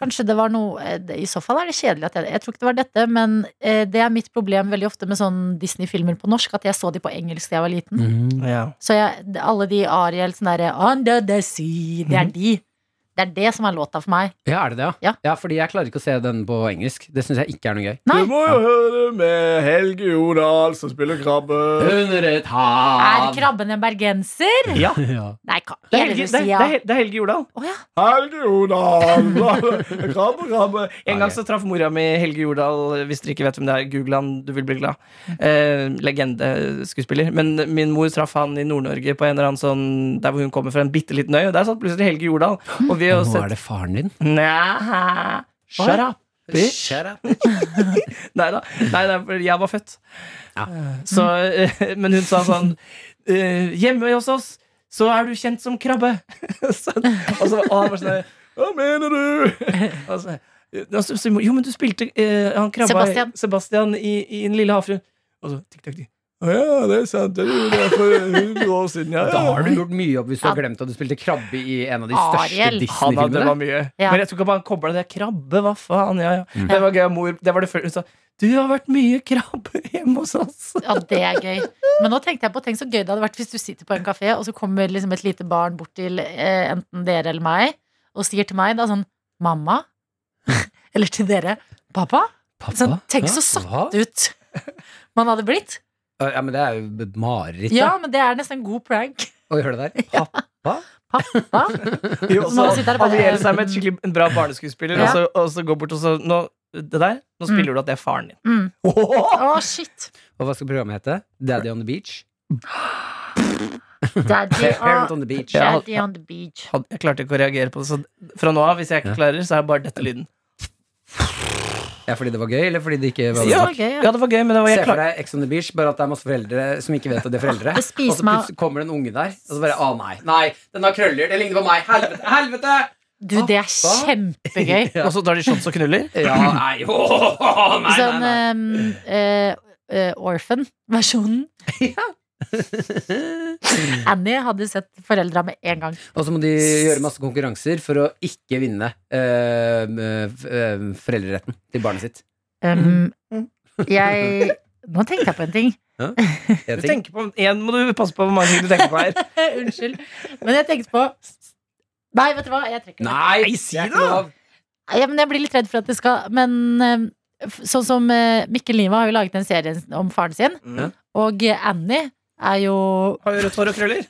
Speaker 2: Kanskje det var noe eh, det- I så fall er det kjedelig at jeg Jeg tror ikke det var dette, men eh, det er mitt problem veldig ofte med sånn Disney-filmer på norsk, at jeg så de på engelsk da jeg var liten.
Speaker 9: Ja.
Speaker 2: Så jeg, alle de Ariel sånn derre Under the sea, det
Speaker 9: Mhm.
Speaker 2: er de. Det er det som er låta for meg.
Speaker 3: Ja, er det det,
Speaker 2: Ja.
Speaker 3: ja fordi jeg klarer ikke å se den på engelsk. Det syns jeg ikke er noe gøy.
Speaker 2: Nei.
Speaker 10: Du må jo høre med Helge Jordal som spiller krabbe.
Speaker 3: Under et
Speaker 2: Er
Speaker 3: hav!
Speaker 2: krabben en bergenser?
Speaker 9: Ja.
Speaker 3: Ja.
Speaker 2: Nei, hva er
Speaker 9: Det er
Speaker 2: det
Speaker 9: Helge,
Speaker 2: du
Speaker 9: det, er- det, er
Speaker 2: sier?
Speaker 9: Hel- det er Helge Jordal.
Speaker 2: Å ja.
Speaker 10: Helge Jordal! Krabbe, krabbe.
Speaker 9: En gang så traff mora mi Helge Jordal. Hvis dere ikke vet hvem det er, google han, du vil bli glad. Eh, Legendeskuespiller. Men min mor traff han i Nord-Norge, på en eller annen sånn der hvor hun kommer fra en bitte liten øy. Og der satt plutselig Helge Jordal. Og vi har
Speaker 3: Og
Speaker 9: jo
Speaker 3: nå er
Speaker 9: sett
Speaker 3: det faren din.
Speaker 9: Næ, Shut up. bitch. Nei da. Nei, nei, for jeg var født.
Speaker 3: Ja.
Speaker 9: Så, eh, men hun sa sånn eh, Hjemme hos oss så er du kjent som krabbe. så, og så og han var sånn Hva mener du? og så, og så, så, jo, men du spilte eh, han krabba
Speaker 2: Sebastian.
Speaker 9: Sebastian i, i Den lille havfruen. Og så tikk, tikk, tikk.
Speaker 10: Å ja, det er sant. Det er jo det for 100 år siden. Ja,
Speaker 3: Da har
Speaker 10: ja.
Speaker 3: du gjort mye jobb hvis du har
Speaker 2: Ja.
Speaker 3: glemt at du spilte krabbe i en av de største
Speaker 2: Ariel.
Speaker 9: Han hadde det
Speaker 3: Disney-filmene.
Speaker 9: var mye.
Speaker 2: Ja.
Speaker 9: Men jeg tror ikke han kobla det. Krabbe, hva faen? Ja, ja.
Speaker 3: Mm.
Speaker 9: Det var gøy. Mor, det var det før hun sa Du har vært mye krabbe hjemme hos oss.
Speaker 2: Ja, det er gøy. Men nå tenkte jeg på, tenk så gøy det hadde vært hvis du sitter på en kafé, og så kommer liksom et lite barn bort til eh, enten dere eller meg, og sier til meg da sånn Mamma? Eller til dere Pappa? Sånn, tenk så
Speaker 3: Hæ?
Speaker 2: satt ut man hadde blitt.
Speaker 3: Hva? Ja, men det er jo et mareritt
Speaker 2: Ja,
Speaker 3: da,
Speaker 2: men det er nesten en god prank.
Speaker 3: å gjøre det der.
Speaker 2: Hva?
Speaker 9: Jo,
Speaker 2: Så må man
Speaker 9: så
Speaker 2: sitte der og bare-
Speaker 9: alliere seg med et skikkelig en bra barneskuespiller,
Speaker 2: Ja.
Speaker 9: og, så, og så gå bort og så nå, Det der, nå spiller du at det er faren din.
Speaker 2: Mm.
Speaker 9: Åh!
Speaker 2: Å, shit.
Speaker 3: Og hva skal programmet hete? Daddy on the beach?
Speaker 2: Daddy
Speaker 3: Parent
Speaker 2: on,
Speaker 3: on the beach.
Speaker 9: Ja.
Speaker 2: daddy on the beach.
Speaker 9: Hadde- Jeg klarte ikke å reagere på det, så fra nå av, hvis jeg ikke klarer, så er det bare dette lyden.
Speaker 3: Ja, fordi det var gøy, eller fordi det ikke var
Speaker 2: Så
Speaker 9: Ja.
Speaker 2: det var gøy, ja.
Speaker 9: Ja, det var gøy, men det var
Speaker 3: Se
Speaker 9: jeg
Speaker 3: for
Speaker 9: klar.
Speaker 3: deg Ex on the beach, bare at det er masse foreldre som ikke vet at de er foreldre.
Speaker 2: Det spiser
Speaker 3: Og så plutselig kommer det en unge der, og så bare Å, nei. Nei, den har krøller. Det ligner på meg. Helvete! Helvete!
Speaker 2: Du, det er
Speaker 3: Pappa?
Speaker 2: kjempegøy.
Speaker 9: Og så tar de shots og knuller.
Speaker 3: Ja, nei. Åh, nei, nei,
Speaker 2: Sånn
Speaker 3: nei.
Speaker 2: eh, eh, eh, Orphan-versjonen. Annie hadde sett foreldra med en gang.
Speaker 3: Og så må de gjøre masse konkurranser for å ikke vinne eh, f- eh, foreldreretten til barnet sitt.
Speaker 2: Um, jeg Nå tenkte jeg på en ting.
Speaker 3: Jeg
Speaker 9: Du
Speaker 3: tenker-
Speaker 9: tenker på en må du passe på hvor mange ting du tenker på her.
Speaker 2: Unnskyld. Men jeg tenkte på Nei, vet du hva, jeg trekker det.
Speaker 3: Nei, si det! da!
Speaker 2: Ja, men jeg blir litt redd for at det skal Men eh, f- sånn som eh, Mikkel Niva har jo laget en serie om faren sin,
Speaker 9: Mm.
Speaker 2: og eh, Annie er jo
Speaker 9: Har jo rødt hår og krøller.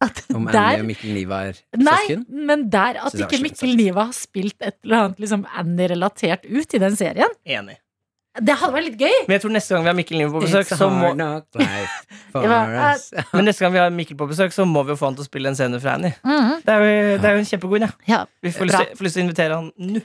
Speaker 2: At
Speaker 3: Om Annie
Speaker 2: der
Speaker 3: og Mikkel Niva er
Speaker 2: Nei,
Speaker 3: søsken?
Speaker 2: men der at
Speaker 3: Synes jeg
Speaker 2: ikke
Speaker 3: var slemt
Speaker 2: Mikkel
Speaker 3: sagt.
Speaker 2: Niva har spilt et eller annet liksom Annie-relatert ut i den serien.
Speaker 9: Enig.
Speaker 2: Det hadde vært litt gøy!
Speaker 9: Men jeg tror neste gang vi har Mikkel Niva på besøk,
Speaker 3: It's a
Speaker 9: så må,
Speaker 3: hard knock life for
Speaker 2: Ja,
Speaker 3: us.
Speaker 9: men neste gang vi har Mikkel på besøk, så må vi jo få han til å spille en scene fra Annie.
Speaker 2: Mhm.
Speaker 9: Det er jo, det er jo en kjempegod idé.
Speaker 2: Ja,
Speaker 9: Vi får
Speaker 2: Bra.
Speaker 9: lyst, til- får lyst til å invitere han nå.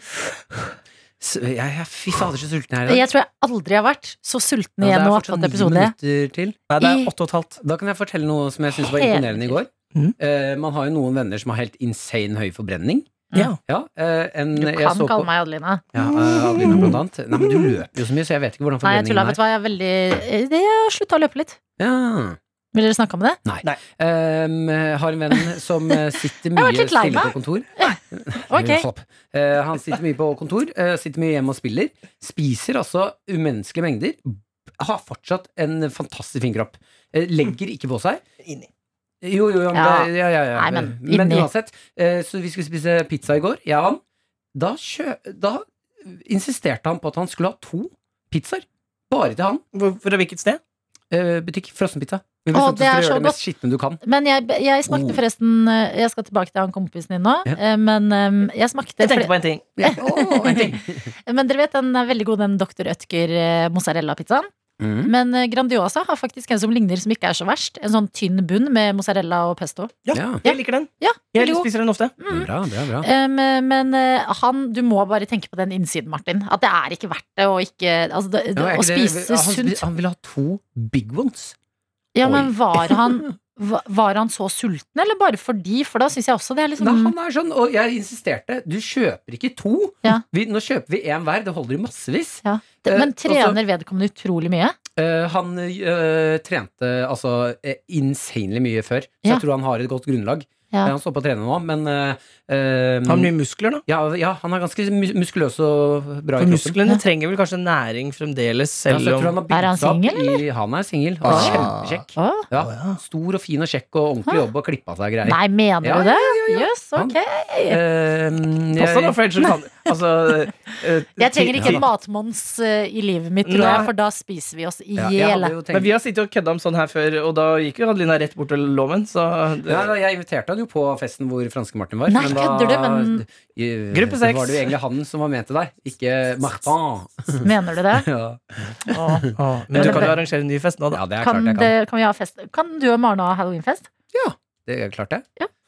Speaker 3: Så Jeg jeg er fy fader så sulten her i dag.
Speaker 2: Jeg tror jeg aldri har vært så sulten
Speaker 3: Ja, det er
Speaker 2: igjen og har
Speaker 3: fortsatt
Speaker 2: fått
Speaker 3: ni
Speaker 2: episode.
Speaker 3: minutter til.
Speaker 9: Nei, det
Speaker 2: I-
Speaker 9: er åtte og et halvt.
Speaker 3: Da kan jeg fortelle noe som jeg syntes var
Speaker 2: Helt
Speaker 3: imponerende i går.
Speaker 9: Mm.
Speaker 3: Eh, man har jo noen venner som har helt insane høy forbrenning.
Speaker 9: Ja.
Speaker 3: eh, en,
Speaker 2: Du
Speaker 3: jeg
Speaker 2: kan
Speaker 3: så på-
Speaker 2: kalle meg Adelina.
Speaker 3: Ja, eh, Adelina blant annet. Nei, men du løper jo så mye, så jeg vet ikke hvordan
Speaker 2: Ah. Nei, jeg tulla.
Speaker 3: forbrenningen
Speaker 2: Vet du hva, jeg er veldig eh, Jeg har slutta å løpe litt.
Speaker 3: er. Ja.
Speaker 2: Vil dere snakke om det?
Speaker 3: Ehm, har en venn som eh, sitter mye
Speaker 2: har vært litt lei
Speaker 3: stille
Speaker 2: meg.
Speaker 3: på kontor.
Speaker 2: Ok.
Speaker 3: Hopp. Eh, han sitter mye på kontor, eh, sitter mye hjemme og spiller. Spiser altså umenneskelige mengder. Har fortsatt en fantastisk fin kropp. Eh, legger ikke på seg.
Speaker 9: Inni.
Speaker 3: Jo, jo, jo, men
Speaker 2: Ja.
Speaker 3: det- ja, ja, ja.
Speaker 2: Nei, men inni.
Speaker 3: uansett. eh, så vi skulle spise pizza i går, jeg og han. Da, kjø, da insisterte han på at han skulle ha to pizzaer. Bare til han.
Speaker 9: Hvor- Fra hvilket sted?
Speaker 3: Eh, butikk frossenpizza. Vi
Speaker 2: Å,
Speaker 3: bestemte
Speaker 2: det
Speaker 3: oss for
Speaker 2: er
Speaker 3: å
Speaker 2: så
Speaker 3: gjøre det mest skitne du kan.
Speaker 2: Men jeg, jeg smakte
Speaker 3: Oh.
Speaker 2: forresten eh, Jeg skal tilbake til han kompisen din nå.
Speaker 3: Ja.
Speaker 2: eh, Men eh, jeg smakte
Speaker 9: Jeg tenkte på en ting.
Speaker 3: Ja. Å, en ting.
Speaker 2: Men dere vet den er veldig god, den Dr. Ødker eh, mozzarella-pizzaen.
Speaker 3: Mm.
Speaker 2: Men eh, Grandiosa har faktisk en som ligner, som ikke er så verst. En sånn tynn bunn med mozzarella og pesto.
Speaker 3: Ja.
Speaker 9: Jeg liker den.
Speaker 2: Ja,
Speaker 9: Jeg
Speaker 2: veldig god.
Speaker 9: spiser den ofte.
Speaker 3: Bra, bra, bra.
Speaker 2: Um, men eh, han, du må bare tenke på den innsiden, Martin. At det er ikke verdt det å ikke altså, det,
Speaker 3: Ja, er
Speaker 2: Å
Speaker 3: ikke det-
Speaker 2: spise
Speaker 3: han, spi-
Speaker 2: sunt.
Speaker 3: Han ville ha to big ones.
Speaker 2: Ja,
Speaker 3: Oi.
Speaker 2: men var han, va- var han så sulten, eller bare fordi? For da syns jeg også det er liksom
Speaker 3: Nei, han er sånn, og jeg insisterte. Du kjøper ikke to.
Speaker 2: Ja.
Speaker 3: Vi, nå kjøper vi én hver. Det holder i massevis.
Speaker 2: Det- Men
Speaker 3: Eh,
Speaker 2: trener vedkommende utrolig mye?
Speaker 3: Eh, han eh, trente altså eh, insanely mye før, så
Speaker 2: Ja.
Speaker 3: jeg tror han har et godt grunnlag.
Speaker 2: Ja.
Speaker 3: Eh, han står på å trene nå, men eh, eh,
Speaker 9: Har mye muskler, da.
Speaker 3: ja, ja, han er ganske mus muskuløs og bra i
Speaker 9: For
Speaker 3: kroppen.
Speaker 9: musklene
Speaker 2: Ja.
Speaker 9: trenger vel kanskje næring fremdeles,
Speaker 3: Ja, så
Speaker 9: selv
Speaker 3: jeg tror
Speaker 9: om
Speaker 3: han har bygd
Speaker 2: Er han
Speaker 3: seg opp
Speaker 2: singel,
Speaker 3: i- Han er singel. Han er
Speaker 9: Ah.
Speaker 3: Kjempekjekk.
Speaker 2: Å?
Speaker 3: Ja, stor og fin og kjekk og ordentlig jobb og klippa seg og greier.
Speaker 2: Ah. Nei, mener du
Speaker 3: Ja,
Speaker 2: det? Jøss,
Speaker 3: Han-
Speaker 2: ok.
Speaker 3: Eh,
Speaker 9: Pass deg, da, for ellers så kan Altså eh,
Speaker 2: Jeg trenger ikke
Speaker 9: ti-
Speaker 2: en matmons eh, i livet mitt nå,
Speaker 9: Nei.
Speaker 2: for da spiser vi oss i
Speaker 3: Ja, jeg
Speaker 2: hjel.
Speaker 3: hadde jo tenkt-
Speaker 9: Men vi har sittet og kødda om sånn her før, og da gikk jo Adelina rett bort til lommen, så det,
Speaker 3: Ja, da, jeg inviterte han jo på festen hvor franske Martin var.
Speaker 2: Nei,
Speaker 3: men da-
Speaker 2: kødder du, men-
Speaker 3: I-
Speaker 9: Gruppe seks.
Speaker 3: var det jo egentlig han som var ment til deg, ikke Martin.
Speaker 2: Mener du det?
Speaker 3: Ja,
Speaker 9: Å, å, Men
Speaker 2: Men
Speaker 9: du
Speaker 2: det-
Speaker 9: kan jo arrangere en ny fest nå, da.
Speaker 3: ja det er
Speaker 2: Kan,
Speaker 3: klart jeg
Speaker 2: det,
Speaker 3: kan.
Speaker 2: kan, vi ha fest? kan du og Marne ha halloweenfest?
Speaker 3: Det er klart jeg.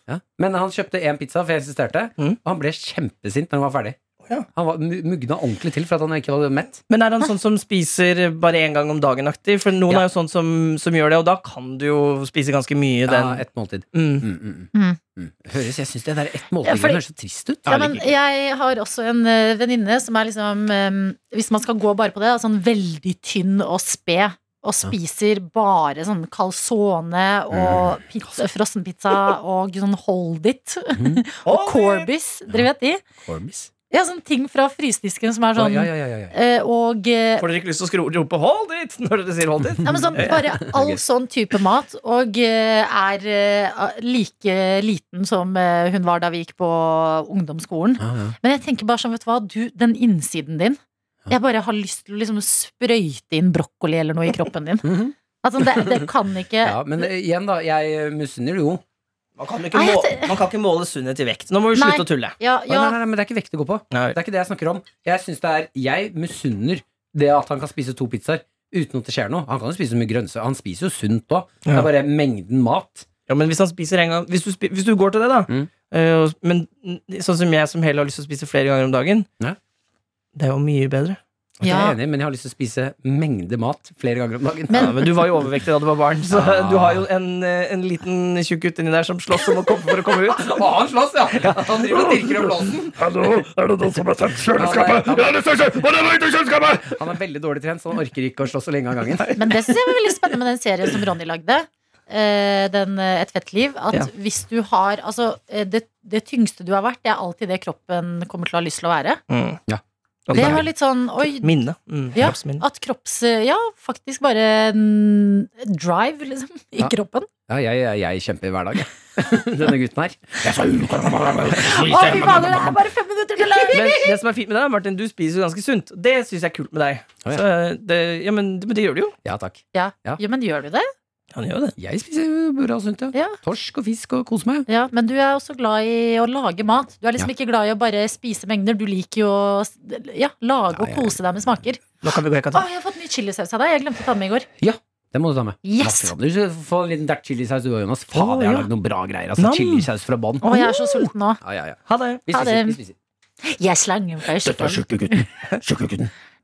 Speaker 2: Ja.
Speaker 3: Men han kjøpte én pizza, for jeg insisterte,
Speaker 9: Mm.
Speaker 3: og han ble kjempesint når han var ferdig.
Speaker 9: Ja.
Speaker 3: Han var mu- mugna ordentlig til for at han ikke var mett.
Speaker 9: Men er han sånn som spiser bare én gang om dagen-aktig? For noen
Speaker 3: Ja.
Speaker 9: er jo sånn som, som gjør det, og da kan du jo spise ganske mye den.
Speaker 3: Ja, et måltid.
Speaker 9: Mm.
Speaker 3: Mm, mm, mm.
Speaker 2: Mm.
Speaker 3: Mm. Høres, jeg syns det der ett
Speaker 2: Ja,
Speaker 3: måltid
Speaker 2: fordi-
Speaker 3: høres så trist ut.
Speaker 2: Ja, men jeg har også en eh, venninne som er liksom eh, Hvis man skal gå bare på det, da, sånn veldig tynn og sped. Og spiser bare sånn calzone og
Speaker 3: Mm.
Speaker 2: pizza, frossenpizza og sånn Hold It.
Speaker 3: Mhm.
Speaker 2: og Corbis. Dere vet de?
Speaker 3: Corbis.
Speaker 2: Ja, sånn ting fra frysedisken som er sånn
Speaker 3: ja, ja, ja, ja, ja.
Speaker 2: eh, Og eh,
Speaker 9: Får dere ikke lyst til å skro- rope 'hold it' når dere sier 'hold it'?
Speaker 2: Ja, men sånn, bare all sånn type mat, og eh, er eh, like liten som eh, hun var da vi gikk på ungdomsskolen.
Speaker 3: Ja, ja.
Speaker 2: Men jeg tenker bare sånn, vet du hva, du, den innsiden din Jeg bare har lyst til å liksom sprøyte inn brokkoli eller noe i kroppen din.
Speaker 3: Mhm.
Speaker 2: Altså, det, det kan ikke
Speaker 3: ja, men eh, igjen, da. Jeg misunner det jo.
Speaker 9: Man kan, ikke
Speaker 2: Nei, jeg
Speaker 9: måle,
Speaker 2: ser-
Speaker 9: man kan ikke måle sunnhet i vekt. Nå må vi
Speaker 2: Nei.
Speaker 9: slutte å tulle.
Speaker 2: Ja,
Speaker 3: Å,
Speaker 2: ja,
Speaker 3: Nei, nei, nei, men det er ikke vekt å gå på. Det er ikke det jeg snakker om. Jeg synes det er Jeg misunner det at han kan spise to pizzaer uten at det skjer noe. Han kan jo spise så mye grønnsaker. Han spiser jo sunt òg. Det
Speaker 9: Ja.
Speaker 3: er bare mengden mat.
Speaker 9: Ja, men hvis han spiser en gang Hvis du, spi, hvis du går til det, da.
Speaker 3: Mm.
Speaker 9: eh, og- men sånn som jeg som heller har lyst til å spise flere ganger om dagen,
Speaker 3: Ja.
Speaker 9: det er jo mye bedre.
Speaker 3: Og det er
Speaker 2: Ja.
Speaker 3: jeg enig i, men jeg har lyst til å spise mengde mat flere ganger om dagen.
Speaker 2: Men-
Speaker 9: ja, men du var jo overvektig da du var barn, så
Speaker 3: Ah.
Speaker 9: du har jo en, eh, en liten tjukk gutt inni der som slåss om å komme for å komme ut.
Speaker 3: Å, han slåss, ja! Han driver og dirker opp blåsen.
Speaker 10: Hallo, er det noen som har tatt kjøleskapet? Jeg har lyst til å kjø- Hva er det med kjøleskapet?
Speaker 3: Han er veldig dårlig trent, så han orker ikke å slåss så lenge av gangen.
Speaker 2: Men det syns jeg var veldig spennende med den serien som Ronny lagde. eh, Den eh, Et fett liv. At
Speaker 9: Ja.
Speaker 2: hvis du har Altså, eh, det, det tyngste du har vært, det er alltid det kroppen kommer til å ha lyst til å være.
Speaker 9: Mm.
Speaker 3: Ja.
Speaker 2: Det var litt sånn Oi,
Speaker 9: Minne. Mm,
Speaker 2: Ja.
Speaker 9: kroppsminne.
Speaker 2: at kropps... eh, Ja, faktisk bare en drive, liksom, i
Speaker 3: Ja.
Speaker 2: kroppen.
Speaker 3: Ja, jeg, jeg, jeg kjemper hver dag, jeg. Denne gutten her.
Speaker 2: Å, fy fader, det er bare fem minutter til det!
Speaker 9: Men det som er fint med deg, Martin, du spiser jo ganske sunt. Det syns jeg er kult med deg.
Speaker 3: Å, ja.
Speaker 9: Så, eh, det, ja, men, men det gjør du jo.
Speaker 3: Ja takk.
Speaker 2: Ja.
Speaker 3: Ja.
Speaker 2: Jo, men gjør du det?
Speaker 9: Han gjør jo det.
Speaker 4: Jeg spiser jo bra og sunt, ja.
Speaker 2: Ja.
Speaker 4: Torsk og fisk og koser meg.
Speaker 2: Ja, men du er også glad i å lage mat. Du er liksom ikke glad i å bare spise mengder. Du liker jo å s- ja, lage og kose deg med smaker.
Speaker 9: Nå kan vi gå hekka
Speaker 2: Å, jeg har fått ny chilisaus av deg. Jeg glemte å ta den med i går.
Speaker 4: Det må du ta med.
Speaker 2: Yes!
Speaker 4: Masse godt. Du skal få en liten dert chilisaus du òg, Jonas. Faen, jeg har
Speaker 9: ja.
Speaker 4: lagd noen bra greier. Altså,
Speaker 9: Nam.
Speaker 4: chilisaus fra bånn.
Speaker 2: Å, jeg er så sulten nå.
Speaker 4: Ja, ja, ja.
Speaker 9: Ha det.
Speaker 4: Vi
Speaker 2: Ha
Speaker 4: spiser.
Speaker 2: det.
Speaker 4: Vi spiser.
Speaker 2: Jeg slenger først.
Speaker 11: Dette er tjukkegutten. Tjukkegutten.